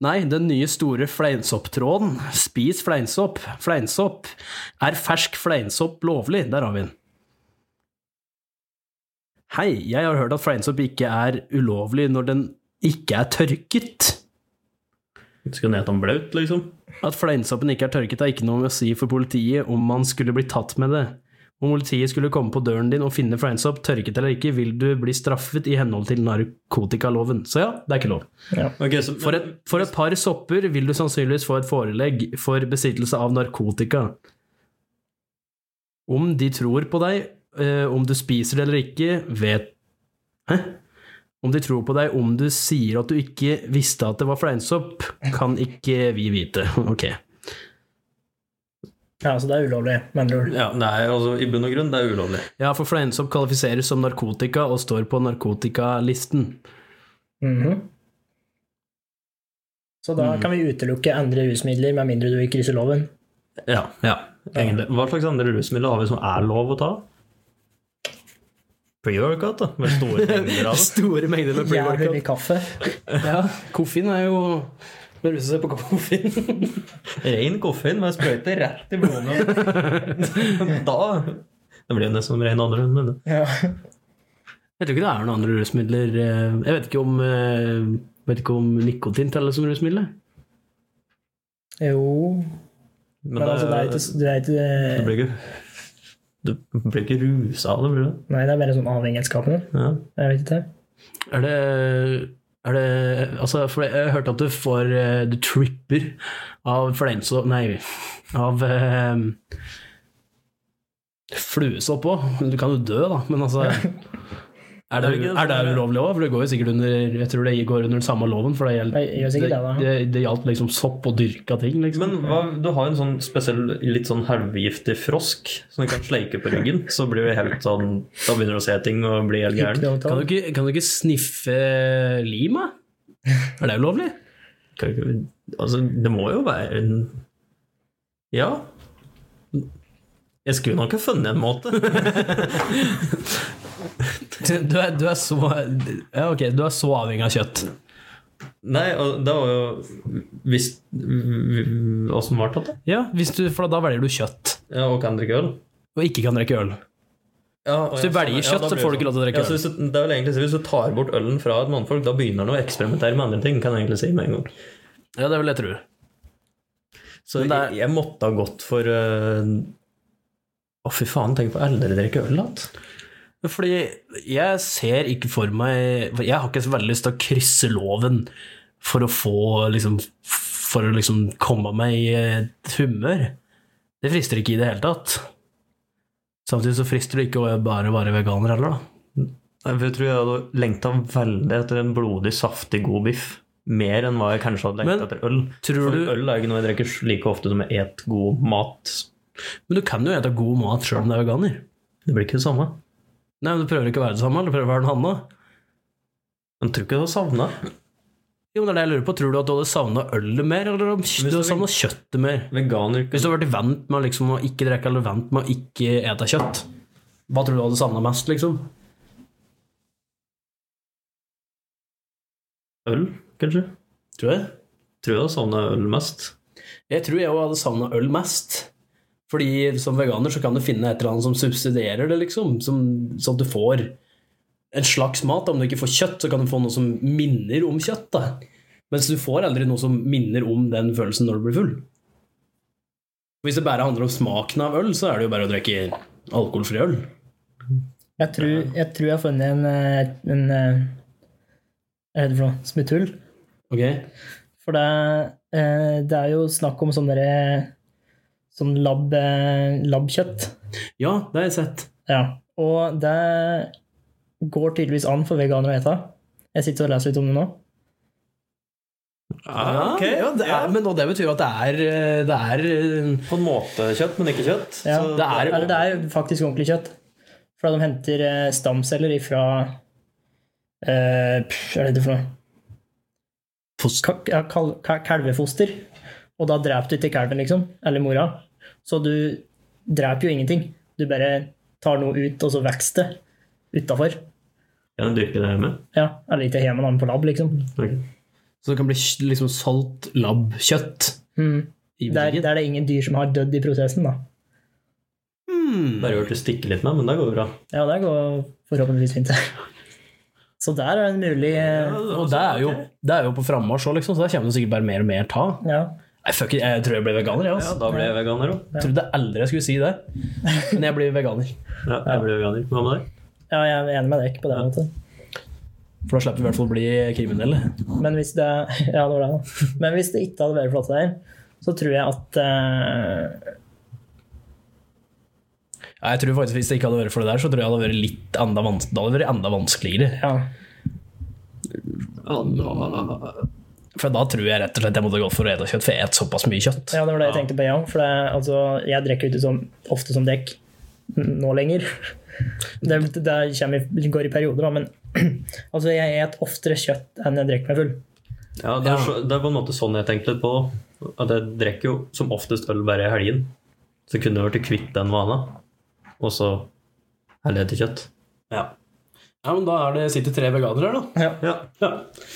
nei, den nye store fleinsopptråden. Spis fleinsopp. Fleinsopp. Er fersk fleinsopp lovlig? Der har vi den. Hei, jeg har hørt at fleinsopp ikke er ulovlig når den ikke er tørket.
Skulle ned om blaut, liksom.
At fleinsoppen ikke er tørket, er ikke noe å si for politiet om man skulle bli tatt med det. Om politiet skulle komme på døren din og finne fleinsopp, tørket eller ikke, vil du bli straffet i henhold til narkotikaloven. Så ja, det er ikke lov.
Ok, så,
For et, for et par sopper vil du sannsynligvis få et forelegg for besittelse av narkotika. Om de tror på deg, eh, om du spiser det eller ikke, vet Hæ? Om de tror på deg, om du sier at du ikke visste at det var fleinsopp, kan ikke vi vite. Ok.
Ja, så det er ulovlig, med andre ord.
Ja, det er altså i bunn og grunn det er ulovlig.
Ja, for fleinsopp kvalifiseres som narkotika og står på narkotikalisten.
Mhm. Så da kan vi utelukke andre rusmidler med mindre du ikke krysser loven.
Ja. ja.
Egentlig. Hva slags andre rusmidler har vi som er lov å ta? Pre-workout, da. Med store mengder av det.
Store mengder med
Jævlig
pre-workout.
mye kaffe.
Ja, koffein er jo Bør ruse seg på koffein.
Rein koffein med sprøyte rett i blodet. da Det blir jo nesten som rein andre, men
Ja.
Jeg tror ikke det er noen andre rusmidler eh, Jeg vet ikke om, eh, vet ikke om nikotin teller som rusmiddel. jeg.
Jo
Men
Men altså, det er ikke, det er
Du
ikke
blir ikke, du blir ikke rusa av det, blir du?
Nei, det er bare sånn avhengighetsskapende.
Ja.
Jeg vet ikke.
Er det, er det altså, for Jeg jeg hørte at du får eh, Du tripper av fleinsopp Nei, av eh, fluesopp òg. Du kan jo dø, da, men altså Er det, er det
sånn,
ulovlig òg? For det går jo sikkert under Jeg tror det går under den samme loven. For det,
Nei, jeg gjør
gjelder,
sikkert det, da.
det, det gjaldt liksom sopp og dyrka ting, liksom.
Men hva, du har jo en sånn spesiell, litt sånn halvgiftig frosk som du kan sleike på ryggen. Så blir du helt sånn Da begynner du å se ting og blir helt
Ikke
gæren.
noe å ta.
Kan du ikke, kan du ikke sniffe lim, da? Er det ulovlig?
Kan ikke- Altså, det må jo være en Ja. Jeg skulle nok ha funnet en måte.
Du er, du er så Ja, ok, du er så avhengig av kjøtt.
Nei, og det var jo Hvis Åssen var det? da?
Ja, hvis du, for da velger du kjøtt,
Ja, og kan drikke øl?
og ikke kan drikke øl.
Ja,
Hvis du velger kjøtt, så får du ikke lov til å drikke
ja, så
øl.
hvis du, det er vel egentlig, så Hvis du tar bort ølen fra et mannfolk, da begynner han å eksperimentere med andre ting. kan jeg egentlig si med en gang.
Ja, det er vel det jeg tror.
Så
Men det er-
jeg, jeg måtte ha gått for eh, Å, fy faen, tenk på eldre drikke øl igjen.
Fordi jeg ser ikke for meg Jeg har ikke så veldig lyst til å krysse loven for å få liksom For å liksom komme meg i et humør. Det frister ikke i det hele tatt. Samtidig så frister det ikke å bare være veganer heller, da.
Jeg tror jeg hadde lengta veldig etter en blodig, saftig, god biff. Mer enn hva jeg kanskje hadde
Men
lengta etter øl.
Tror
For
du,
Øl er ikke noe jeg drikker like ofte som jeg et god mat.
men du kan jo ete god mat sjøl om du er veganer.
Det blir ikke det samme.
Nei, men Du prøver ikke å være det samme, du prøver å være den Hanna.
Men tror ikke du har savna?
Jo, men det er det jeg lurer på. Tror du at du hadde savna ølet mer, eller om du
du
hadde
vil-
savna kjøttet mer?
Veganer
Hvis du hadde vært vant med å liksom, å ikke drikke eller vant med å ikke ete kjøtt, hva tror du du hadde savna mest, liksom?
Øl, kanskje?
Tror jeg.
Tror jeg har savna øl mest.
Jeg tror jeg også hadde savna øl mest. Fordi som veganer så kan du finne et eller annet som subsidierer det, liksom. Som, så at du får en slags mat. Om du ikke får kjøtt, så kan du få noe som minner om kjøtt. da. Mens du får aldri noe som minner om den følelsen når du blir full. Hvis det bare handler om smaken av øl, så er det jo bare å drikke alkoholfri øl.
Jeg tror, jeg tror jeg har funnet en, eh, en eh, Hva heter det for noe? Smutthull.
Ok?
For det, eh, det er jo snakk om sånn derre Sånn lab, eh, labkjøtt.
Ja, det har jeg sett.
Ja. Og det går tydeligvis an for veganere å ete. Jeg sitter og leser litt om det nå.
Ah, ok,
ja, det er,
ja.
Men, og det betyr jo at det er, eh, det er
På en måte kjøtt, men ikke kjøtt.
Ja.
Så-
Det er-
Eller det er jo faktisk ordentlig kjøtt. For de henter eh, stamceller ifra eh, pff, Hva er dette for noe? Ka- ja, kal ka- kalvefoster. Og da dreper du ikke kalven, liksom. Eller mora. Så du dreper jo ingenting. Du bare tar noe ut, og så vokser det utafor.
Kan jeg dyrke det hjemme?
Ja, eller ikke hjemme, men på lab, liksom.
Ok.
Så det kan bli kj- liksom solgt labbkjøtt
Mm.
i
Der,
butikken?
der er det ingen dyr som har dødd i prosessen, da.
Hmm.
Bare gjort det stikke litt med, men det går bra.
Ja, det går forhåpentligvis fint. Så der er en mulig eh,
Og det er jo, det er jo på frammarsj òg, liksom, så der kommer det sikkert bare mer og mer ta.
Ja.
Nei, fuck it, jeg tror jeg ble veganer, jeg.
Ja,
Altså.
da ble jeg veganer òg.
Jeg trodde aldri jeg skulle si det, men jeg blir veganer.
Ja, jeg ble veganer. Hva med deg?
ja, jeg er enig med deg på det. Vet du.
For da slipper vi i hvert fall å bli kriminelle.
Men hvis det, ja, det, var det, da. Men hvis det ikke hadde vært flott der, så tror jeg at eh,
Ja, jeg tror faktisk Hvis det ikke hadde vært for det der, så tror jeg det hadde vært litt enda, vans det hadde vært enda vanskeligere.
Ja.
For da tror jeg rett og slett jeg måtte gått for redakjøtt, for jeg et såpass mye kjøtt.
Ja, det var det jeg tenkte på, ja. For det, altså, jeg drikker ute som, ofte som dekk n- nå lenger. Det, det kommer, i- går i perioder, da, men altså, jeg et oftere kjøtt enn jeg drikker meg full.
Ja, det er, så, det er på en måte sånn jeg tenkte litt på. At jeg drikker jo som oftest øl bare i helgen. Så kunne jeg vært kvitt den vana. Og så heller jeg til kjøtt.
Ja. ja, men da er det, sitter tre veganere her, da.
Ja.
Ja.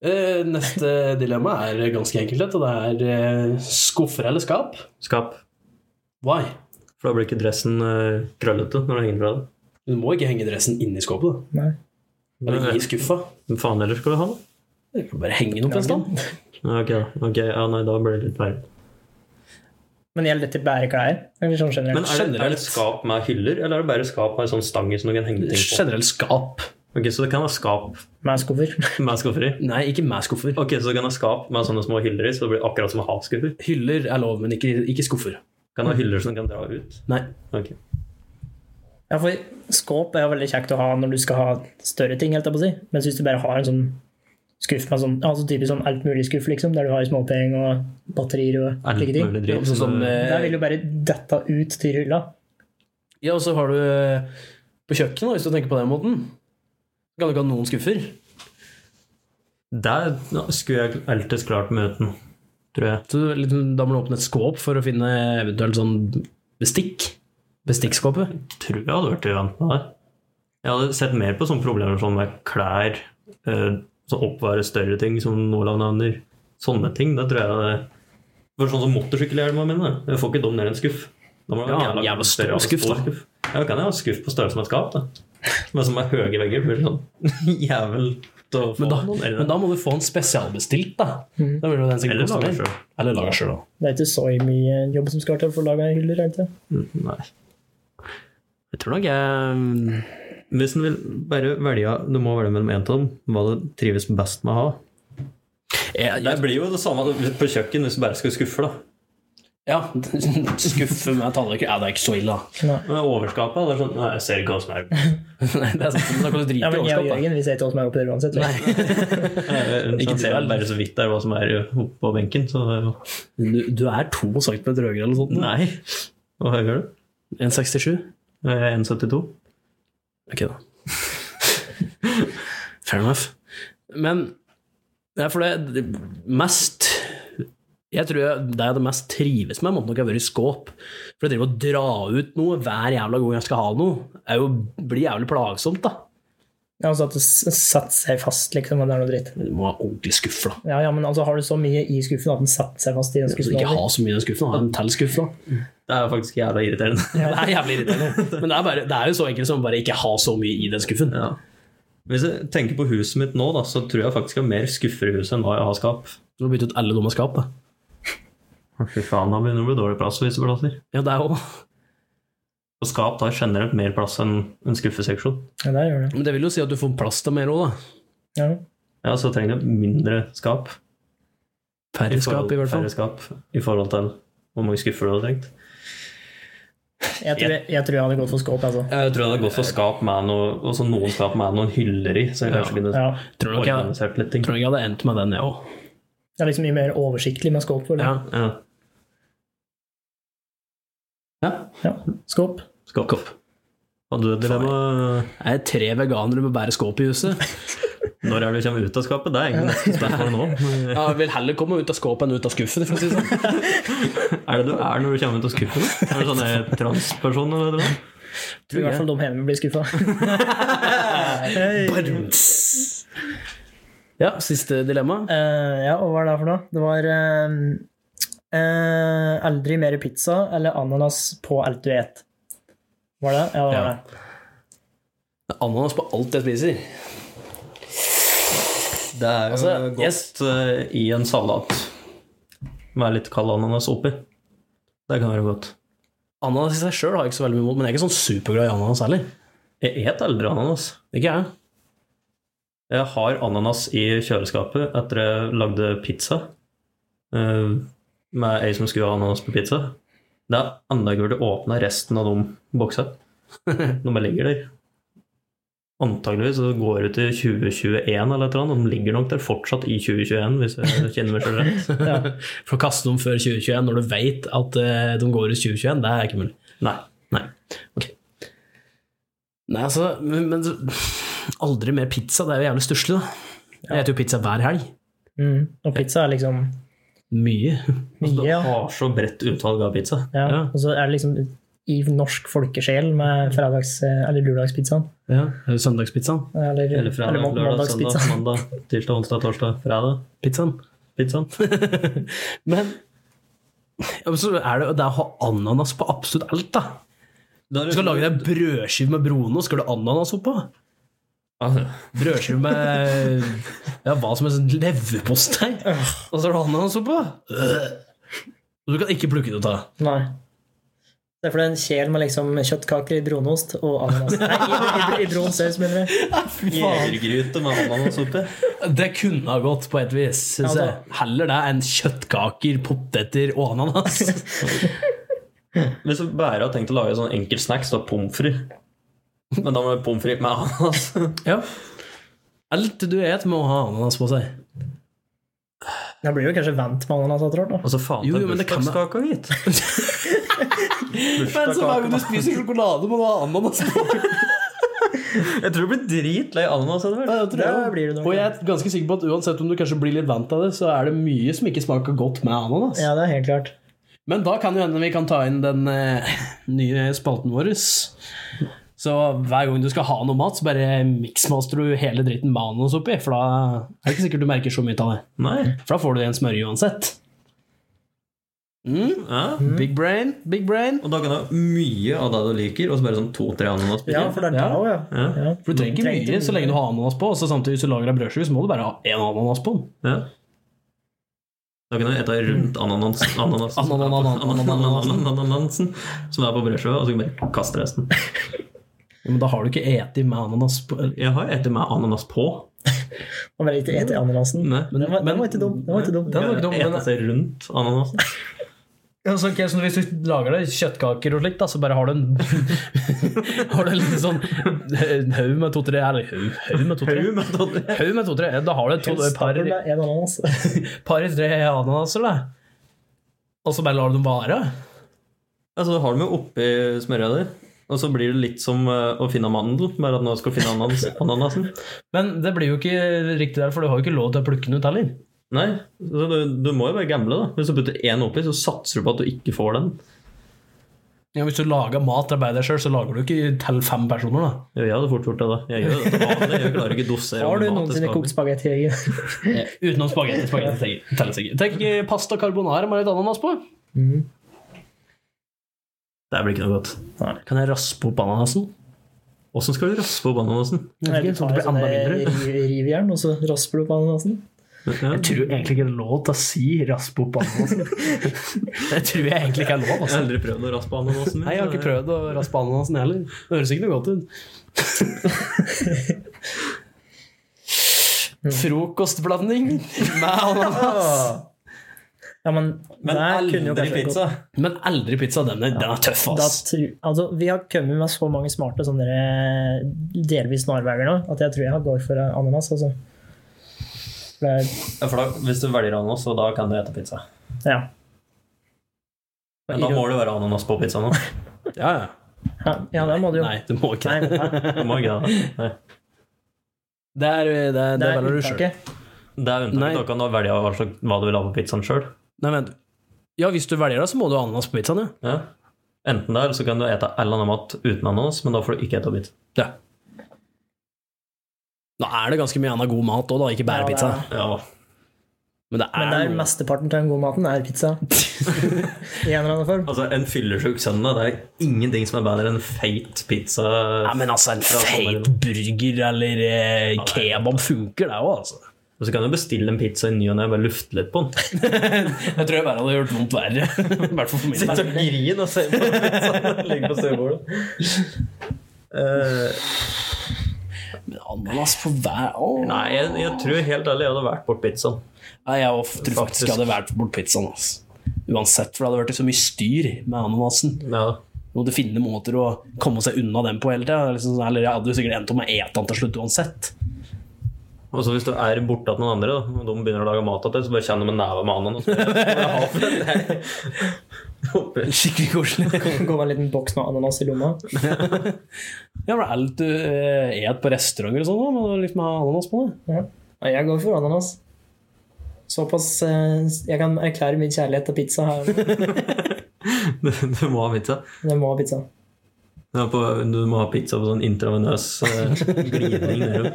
Eh, Neste dilemma er ganske enkelt, lett, og det er eh, skuffer eller skap.
Skap.
Why?
For da blir ikke dressen eh, krøllete når det henger fra deg.
Du må ikke henge dressen inni skåpet. da.
Nei.
Eller i skuffa.
Hvem faen ellers skal du ha den?
Du kan bare henge den opp en stund.
Ja, ok, da. Ok, ja, nei, da blir det litt verre.
Men gjelder dette bare klær? Eller sånn
Men
generelt?
er det, er det
Generelt.
skap med hyller, eller er det bare skap med en sånn stange som du kan henge ting på?
Generelt skap.
Ok, Så det kan være skap
Med skuffer?
med skuffer i?
Nei, ikke med skuffer.
Ok, så du kan ha skap med sånne små hyller i, så det blir akkurat som å ha skuffer?
Hyller er lov, men ikke, ikke skuffer.
Kan ha hyller som du kan dra ut?
Nei.
Ok.
Ja, for skåp er jo veldig kjekt å ha når du skal ha større ting, helt jeg på å si. Men hvis du bare har en sånn skuff med sånn, altså typisk sånn alt mulig skuff, liksom, der du har småpenger og batterier og
Alt
slike ting,
Mm, mulig
Ja,
dritt.
sånn som,
som-
eh,
der vil jo bare dette ut til hylla.
ja, og så har du eh, på kjøkkenet, da, hvis du tenker på den måten. Kan du ikke ha noen skuffer?
Der ja, skulle jeg eltes klart med uten, tror jeg.
Så du- liksom, da må du åpne et skåp for å finne eventuelt sånn bestikk. Bestikkskåpet.
Tror jeg hadde vært i vant med det. Jeg hadde sett mer på sånne problemer sånn med klær, eh, som oppvarer større ting, som Nordland nevner. Sånne ting. Det tror jeg det For sånn som motorsykkelhjelma mine. Jeg får ikke dem ned i en skuff. Da må det være
Ja,
en
jævla stor
større-
skuff, da.
Ja, kan jeg ha skuff på størrelse med et skap, da. Men som er høye vegger. Blir det sånn jævel til å få
Men da,
noen eller-
men da må du få en spesialbestilt, da. da vil jo den sikkert
Eller
koste
lage
mer.
selv.
Eller lage sjøl, da.
Det er ikke så mye jobb som skal til for å lage hyller, er det ikke?
Mm, Nei.
Jeg tror nok jeg
Hvis en vil bare velge Du må velge mellom én av dem. Hva du trives best med å ha.
eh, jeg-
Det blir jo det samme på kjøkken hvis du bare skal skuffe. da
Ja, skuffe med tallrekker. Ja, det er ikke så ille, da.
Men overskapet det er sånn Nei, jeg ser ikke hva som er
Nei, det er sant, men da kan du drite
Ja,
i
men jeg og
overskapet.
Jørgen vi ser ikke hva som er oppi der uansett. vi.
Ikke
Ikke
ser
vel.
bare så vidt det er hva som er oppå benken. Så det er jo
Du, du er to centimeter høyere eller noe sånt.
Nei. Hva høy er du?
1,67.
Jeg er 1,72.
Ok, da. Fair enough. Men det er for det, det mest Jeg tror jeg, det jeg det mest trives med, måtte nok ha vært i skåp. For det driver å dra ut noe hver jævla gang jeg skal ha noe, er jo, blir jævlig plagsomt, da.
Ja, altså at det s- setter seg fast, liksom, og det er noe dritt.
Du må ha ordentlig skuffe, da.
Ja, ja, men altså har du så mye i skuffen at den setter seg fast i den
Så du
skuffen.
ikke
over?
ha så mye i den skuffen. Ha en til skuffe, da.
Det er faktisk jævla irriterende.
Det er jævlig irriterende. Men det er, bare, det er jo så enkelt som bare ikke ha så mye i den skuffen.
Ja. Hvis jeg tenker på huset mitt nå, da, så tror jeg faktisk jeg har mer skuffer i huset enn hva jeg har skap.
Du må bytte ut alle dumme skap, da.
Fy faen, da begynner det å bli dårlig plass på visse plasser.
Ja, det er jo
Og skap tar generelt mer plass enn en skuffeseksjon.
Ja, der gjør det.
Men det vil jo si at du får plass til mer òg, da.
Ja.
Ja, så trenger jeg mindre skap.
Færre skap, i hvert fall.
Færre skap i forhold til hvor mange skuffer du hadde trengt.
Jeg, tror, jeg, jeg tror jeg hadde gått for skåp, altså.
Jeg tror jeg hadde gått for skap med noe, og så noen skap med noen hyller i, så jeg kanskje kunne
Ja.
Tror nok jeg,
organisert litt ting.
tror nok jeg hadde endt med den, jeg òg.
Det er liksom mye mer oversiktlig med skåp. Eller?
Ja.
Ja,
Ja.
Ja. Skåp.
skap. Hadde du et dilemma?
Det er tre veganere med bare skåp i huset.
Når er det vi kommer ut av skapet? Det er egentlig neste spørsmål nå. Men,
Jeg vil heller komme ut av skåpet enn ut av skuffen, for å si det sånn.
Er det du er når du kommer ut av skuffen? Er du sånn en transperson eller noe?
Tror i hvert fall de hjemme blir skuffa.
Ja, siste dilemma.
Eh, ja, og hva er det for noe? Det var eh, eh, aldri mer pizza eller ananas på alt du et. Var det? Ja, det var
Ja.
det.
Ananas på alt jeg spiser.
Det er jo
Altså,
godt eh, i en salat med litt kald ananas oppi. Det kan være godt.
Ananas i seg sjøl har jeg ikke så veldig mye imot, men jeg er ikke sånn superglad i ananas heller.
Jeg et aldri ananas.
Ikke jeg.
Jeg har ananas i kjøleskapet etter jeg lagde pizza. eh, Med ei som skulle ha ananas på pizza. Det er enda jeg burde åpna resten av de boksa. De bare ligger der. Antakeligvis så går det til 2021 eller et eller annet. De ligger nok der fortsatt i 2021, hvis jeg kjenner meg selv rett.
For å kaste dem før 2021 når du veit at eh, de går ut 2021, det er ikke mulig.
Nei.
Nei. Ok. Nei, altså, men, men så- aldri mer pizza. Det er jo jævlig stusslig, da. Jeg spiser jo pizza hver helg.
Mm. Og pizza er liksom
Mye.
mye,
Du
ja.
altså, har så bredt utvalg av pizza.
ja.
ja.
Og så er det liksom i norsk folkesjel med fredags- eh, eller lørdagspizzaen.
Ja. Søndagspizzaen.
Eller,
Eller fredag,
eller må-
lørdag, søndag,
mandagspizzaen.
mandag, tirsdag, onsdag, torsdag, fredag.
Pizzaen.
Pizzaen.
Men ja, men så er det jo det å ha ananas på absolutt alt, da. Du skal lage deg brødskive med Bruno, skal du ha ananas oppå? Brødskive med ja, hva som helst leverpostei, og så har du ananas oppå? Og du kan ikke plukke det ut av.
Nei. Det er fordi en kjel med liksom kjøttkaker i brunost og ananas Nei, i, i, i brun saus, mener jeg.
Jegergryte med ananas oppi.
Det kunne ha gått på et vis, syns
Ja,
jeg. Heller det enn kjøttkaker, poteter og ananas.
Hvis du bare har tenkt å lage sånn enkel snacks, da pommes frites. Men da må det pommes frites med ananas.
Ja. Alt du et må ha ananas på seg.
Jeg blir jo kanskje vant med ananas etter hvert. da.
Altså faen,
Jo,
det
jo,
er
men det kan man-
bursdagskaka hit.
Men så hver gang du spiser sjokolade, må du ha ananas på.
Jeg tror du blir dritlei ananas etter hvert.
Ja, jeg tror
Det
det.
blir det nok.
Og jeg er ganske sikker på at uansett om du kanskje blir litt vant av det, så er det mye som ikke smaker godt med ananas.
Ja, det er helt klart.
Men da kan jo hende vi kan ta inn den eh, nye spalten vår. Så hver gang du skal ha noe mat, så bare miksmaster du hele dritten med ananas oppi. For da er det ikke sikkert du merker så mye av det.
Nei.
For da får du en smørje uansett. Mm.
Ja.
Big brain, big brain.
Og da kan du ha mye av det du liker, og så bare sånn to-tre ananas. på.
Ja, for det er
Ja.
da ja.
Ja.
ja.
For du trenger ikke mye så lenge du har ananas på. Og så samtidig hvis du lager deg brødskive, så må du bare ha én ananas på den.
Ja. Da kan du ete rundt ananas, ananasen,
Ananan- anananasen.
ananansen som er på brødskiva, og så kan du bare kaste resten.
Ja, men da har du ikke eti med ananas på.
Jeg har ete med ananas på.
Og bare ikke ete ananasen.
Nei.
Den var, den var ikke dum. Den var ikke dum.
Mm. Den var ikke dum, men-
Ete seg rundt ananasen.
Ja, så, ok, så hvis du lager deg kjøttkaker og slikt, da, så bare har du en Har du en liten sånn en haug med to-tre Eller haug- haug med to-tre?
Haug med ananas.
Haug med to-tre. Da har du et to, et par,
Stappel med en ananas.
par i tre ananaser, da. Og så bare lar du dem vare.
Altså, har du med oppi smørja di. Og så blir det litt som eh, å finne mandel, bare at nå skal du finne ananas, ananasen.
Men det blir jo ikke riktig der, for du har jo ikke lov til å plukke den ut heller.
Nei, så du, du må jo bare gamble, da. Hvis du putter én oppi, så satser du på at du ikke får den.
Ja, hvis du lager mat til deg sjøl, så lager du ikke til fem personer, da.
Jo, jeg hadde fort gjort det, da. Jeg gjør det til vanlig. Jeg klarer ikke å dosere.
Har du
om mat jeg
noensinne
skal.
kokt spagetti? Jørgen?
Eh,
Utenom spagetti. spagetti teller sikkert. Tenk eh, pasta carbonara med litt ananas på.
Mm.
Det blir ikke noe godt.
Kan jeg raspe opp ananasen?
Åssen skal du raspe opp ananasen?
Jeg vet ikke, sånn at det blir enda mindre.
eh, Rivjern, og så rasper du på ananasen.
Ja.
Jeg tror egentlig ikke det er lov til å si rasp opp ananasen. Det tror jeg egentlig ikke er lov.
Jeg har
Altså.
aldri prøvd å raspe ananasen min.
Nei, jeg har ikke prøvd å raspe ananasen heller. Det høres ikke noe godt ut. Frokostblanding med ananas.
Ja, men,
Men
der kunne jo
aldri
kanskje gått-
pizza.
Men aldri pizza. Den er, den er tøff,
Da,
ass.
tru- altså, vi har kommet med så mange smarte sånne der, delvis snarveier nå, at jeg tror jeg går for ananas. Altså. For det er,
Ja, for da, hvis du velger ananas, så da kan du ete pizza.
ja.
Men da må det være ananas på pizzaen òg.
Ja, ja.
Ja, ja da må du jo
Nei, du må ikke
Nei,
det.
ja.
Det må ikke det. Nei.
Det er, det er, det
Det er
velger du sjøl.
unntaket.
Det er
Nei.
unntaket. Du kan da velge hva, slags, hva du vil ha på pizzaen sjøl.
Nei, vent. Ja, hvis du velger det, så må du ha ananas på pizzaen, ja.
Ja. Enten der så kan du ete all annen mat uten ananas, men da får du ikke ete pizza.
ja. Nå er det ganske mye annen god mat òg, da, ikke bare
Ja, det
pizza.
er-
Ja.
Men det er,
Men der
noe-
mesteparten til den gode maten er pizza. I en eller annen form.
Altså, en fyllesyk søndag, det er ingenting som er bedre enn feit pizza.
Nei, men altså, en
Ja,
feit
sånn
burger eller eh, kebab funker, det òg, altså.
Og så kan du bestille en pizza i ny og ne og bare lufte litt på den.
Jeg tror jeg bare hadde gjort vondt verre. I hvert fall for min
Sitte
del.
og grine og se på pizzaen. Ligge på stuebordet. Eh,
Men Ananas på hver Åh.
nei, jeg, jeg tror helt ærlig jeg hadde vært bort pizzaen.
Nei, jeg også tror faktisk jeg
Faktisk.
hadde vært bort pizzaen. ass. Uansett, for det hadde vært så mye styr med ananasen.
Ja.
Vi måtte finne måter å komme seg unna den på hele tida. Liksom, sånn, eller jeg hadde jo sikkert endt opp med å ete den til slutt uansett.
Og så hvis du er borte til noen andre, da, og de begynner å lage mat til deg, så bare kjenn dem en neve med ananas. Hva er det her for en del? Oppi.
Skikkelig koselig.
Gå med en liten boks med ananas i lomma.
Ja, for det er alt du eh, et på restauranter og sånn, da, må du liksom ha ananas på det.
Ja. Nei, Jeg går for ananas. Såpass eh, Jeg kan erklære min kjærlighet til pizza. her.
Du, du må ha pizza.
Jeg må ha pizza.
Du, er på, du må ha pizza på sånn intravenøs eh, glidning nedover.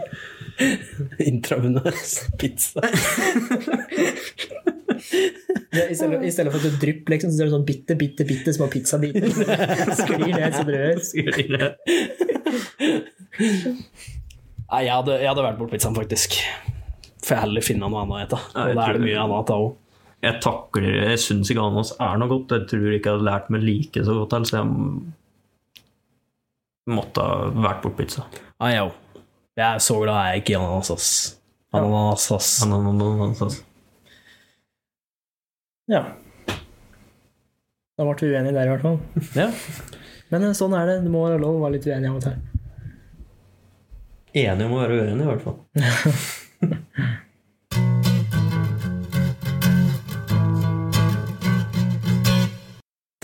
Intravenøs pizza.
Det- I stedet, I stedet for at det drypper, liksom, så ser du sånn bitte, bitte, bitte små pizzabiter. Sklir ned som brød.
Skulle-
Nei, jeg hadde, jeg hadde vært bort pizzaen, faktisk. Får jeg heller finne noe annet å ete.
Nei,
Og
jeg
da er
tror
det mye
det.
annet da òg.
Jeg takler Jeg syns ikke ananas er noe godt. Jeg tror ikke jeg hadde lært meg like så godt, ellers jeg m- måtte ha vært bort pizza.
Nei, jeg òg. Jeg er så glad jeg er ikke i ananas, ass. Ananas, ass.
Ananas, altså.
Ja. Da ble vi uenige der, i hvert fall.
Ja.
Men eh, sånn er det. Det må være lov å være litt uenig av og til.
Enig om å være uenig, i hvert fall.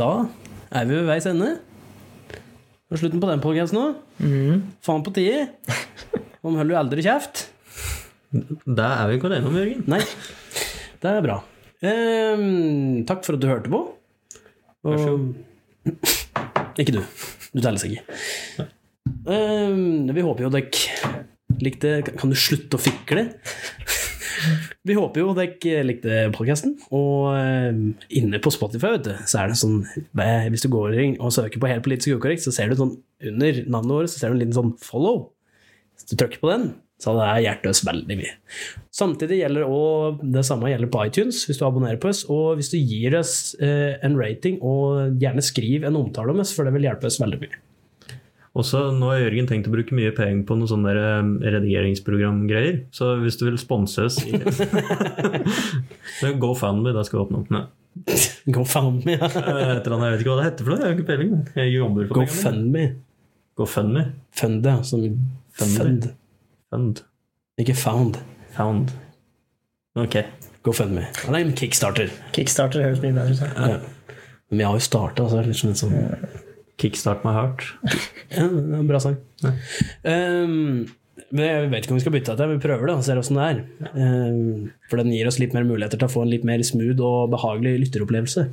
Da er vi ved veis ende. På slutten på den podcasten nå. Faen på tide. Om holder du aldri kjeft.
Det er vi ikke alene om, Jørgen.
Nei. Det er bra. Ehm, takk for at du hørte på. Vær så god. Ikke du. Du teller seg ikke. Ehm, vi håper jo dere likte Kan du slutte å fikle? Vi håper jo dere likte podkasten. Og ehm, inne på Spotify vet du, så er det en sånn Hvis du går inn og søker på Helt politisk ukorrekt, så ser du sånn under navnet vårt så ser du en liten sånn follow. Hvis du trykker på den, så hadde det hjertet oss veldig mye. Samtidig gjelder også, det samme gjelder på iTunes, hvis du abonnerer på oss. Og hvis du gir oss eh, en rating, og gjerne skriv en omtale om oss, for det vil hjelpe oss veldig mye.
Også, nå har Jørgen tenkt å bruke mye penger på noen sånne der, eh, redigeringsprogramgreier. Så hvis du vil sponse oss i- Så Go fanme, det skal vi åpne opp med.
Go fund me.
Et eller annet, jeg vet ikke hva det heter for noe. Jeg har ikke peiling. Jeg jobber for
Go
pengene.
fund me.
Go fund me.
Fund, ja. Som
Fund.
fund.
Fund.
Ikke found.
Found. Ok.
Go fund me. Ja, det er en kickstarter.
Kickstarter høres mye bedre ut.
Ja. Men jeg har jo starta, så det er liksom en sånn
Kickstart my heart.
Ja, det er en bra sang. Um, men jeg vet ikke om vi skal bytte til det, vi prøver det og ser åssen det er. Um, for den gir oss litt mer muligheter til å få en litt mer smooth og behagelig lytteropplevelse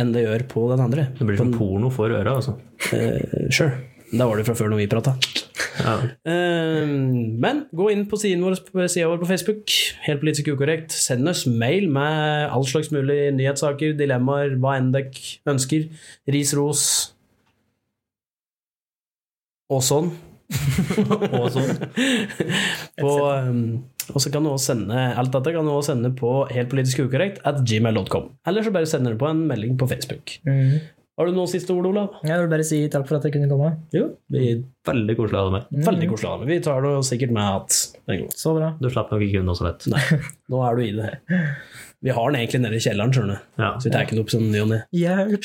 enn det gjør på den andre.
Det blir som porno for øra, altså.
Uh, sure. Der var det fra før når vi prata.
Ja.
Um, men gå inn på siden vår, på siden vår på Facebook. Helt politisk ukorrekt. Send oss mail med all slags mulig nyhetssaker, dilemmaer, hva enn dere ønsker. Ris, ros og sånn.
Og sånn.
På, um, og så kan du også sende alt dette kan du også sende på helt politisk ukorrekt at gmail.com. Eller så bare sender du på en melding på Facebook.
Mm.
Har du noen siste ord, Olav?
Jeg vil bare si takk for at jeg kunne komme.
Jo. Vi,
Veldig koselig å ha deg med.
Mm. veldig koselig. Arne. Vi tar det sikkert med at det er godt.
Så bra.
Du slapp nok ikke unna så lett.
Nå er du i det. Vi har den egentlig nede i kjelleren, skjønner du.
Ja.
Så vi tar ikke den opp som ny og ne.
Hjelp!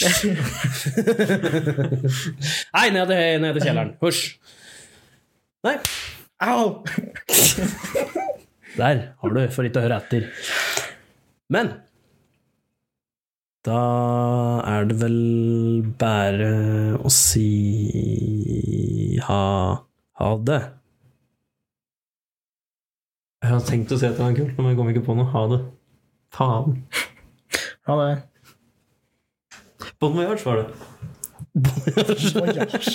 Nei, nede i nede i kjelleren. Hysj. Nei.
Au!
Der har du, for ikke å høre etter. Men Da er det vel bare å si ha, ha det.
Jeg har tenkt å si at det var kult, men jeg kom ikke på noe. Ha det. Faen.
Ha det.
Bon voyage var det.
Voyage.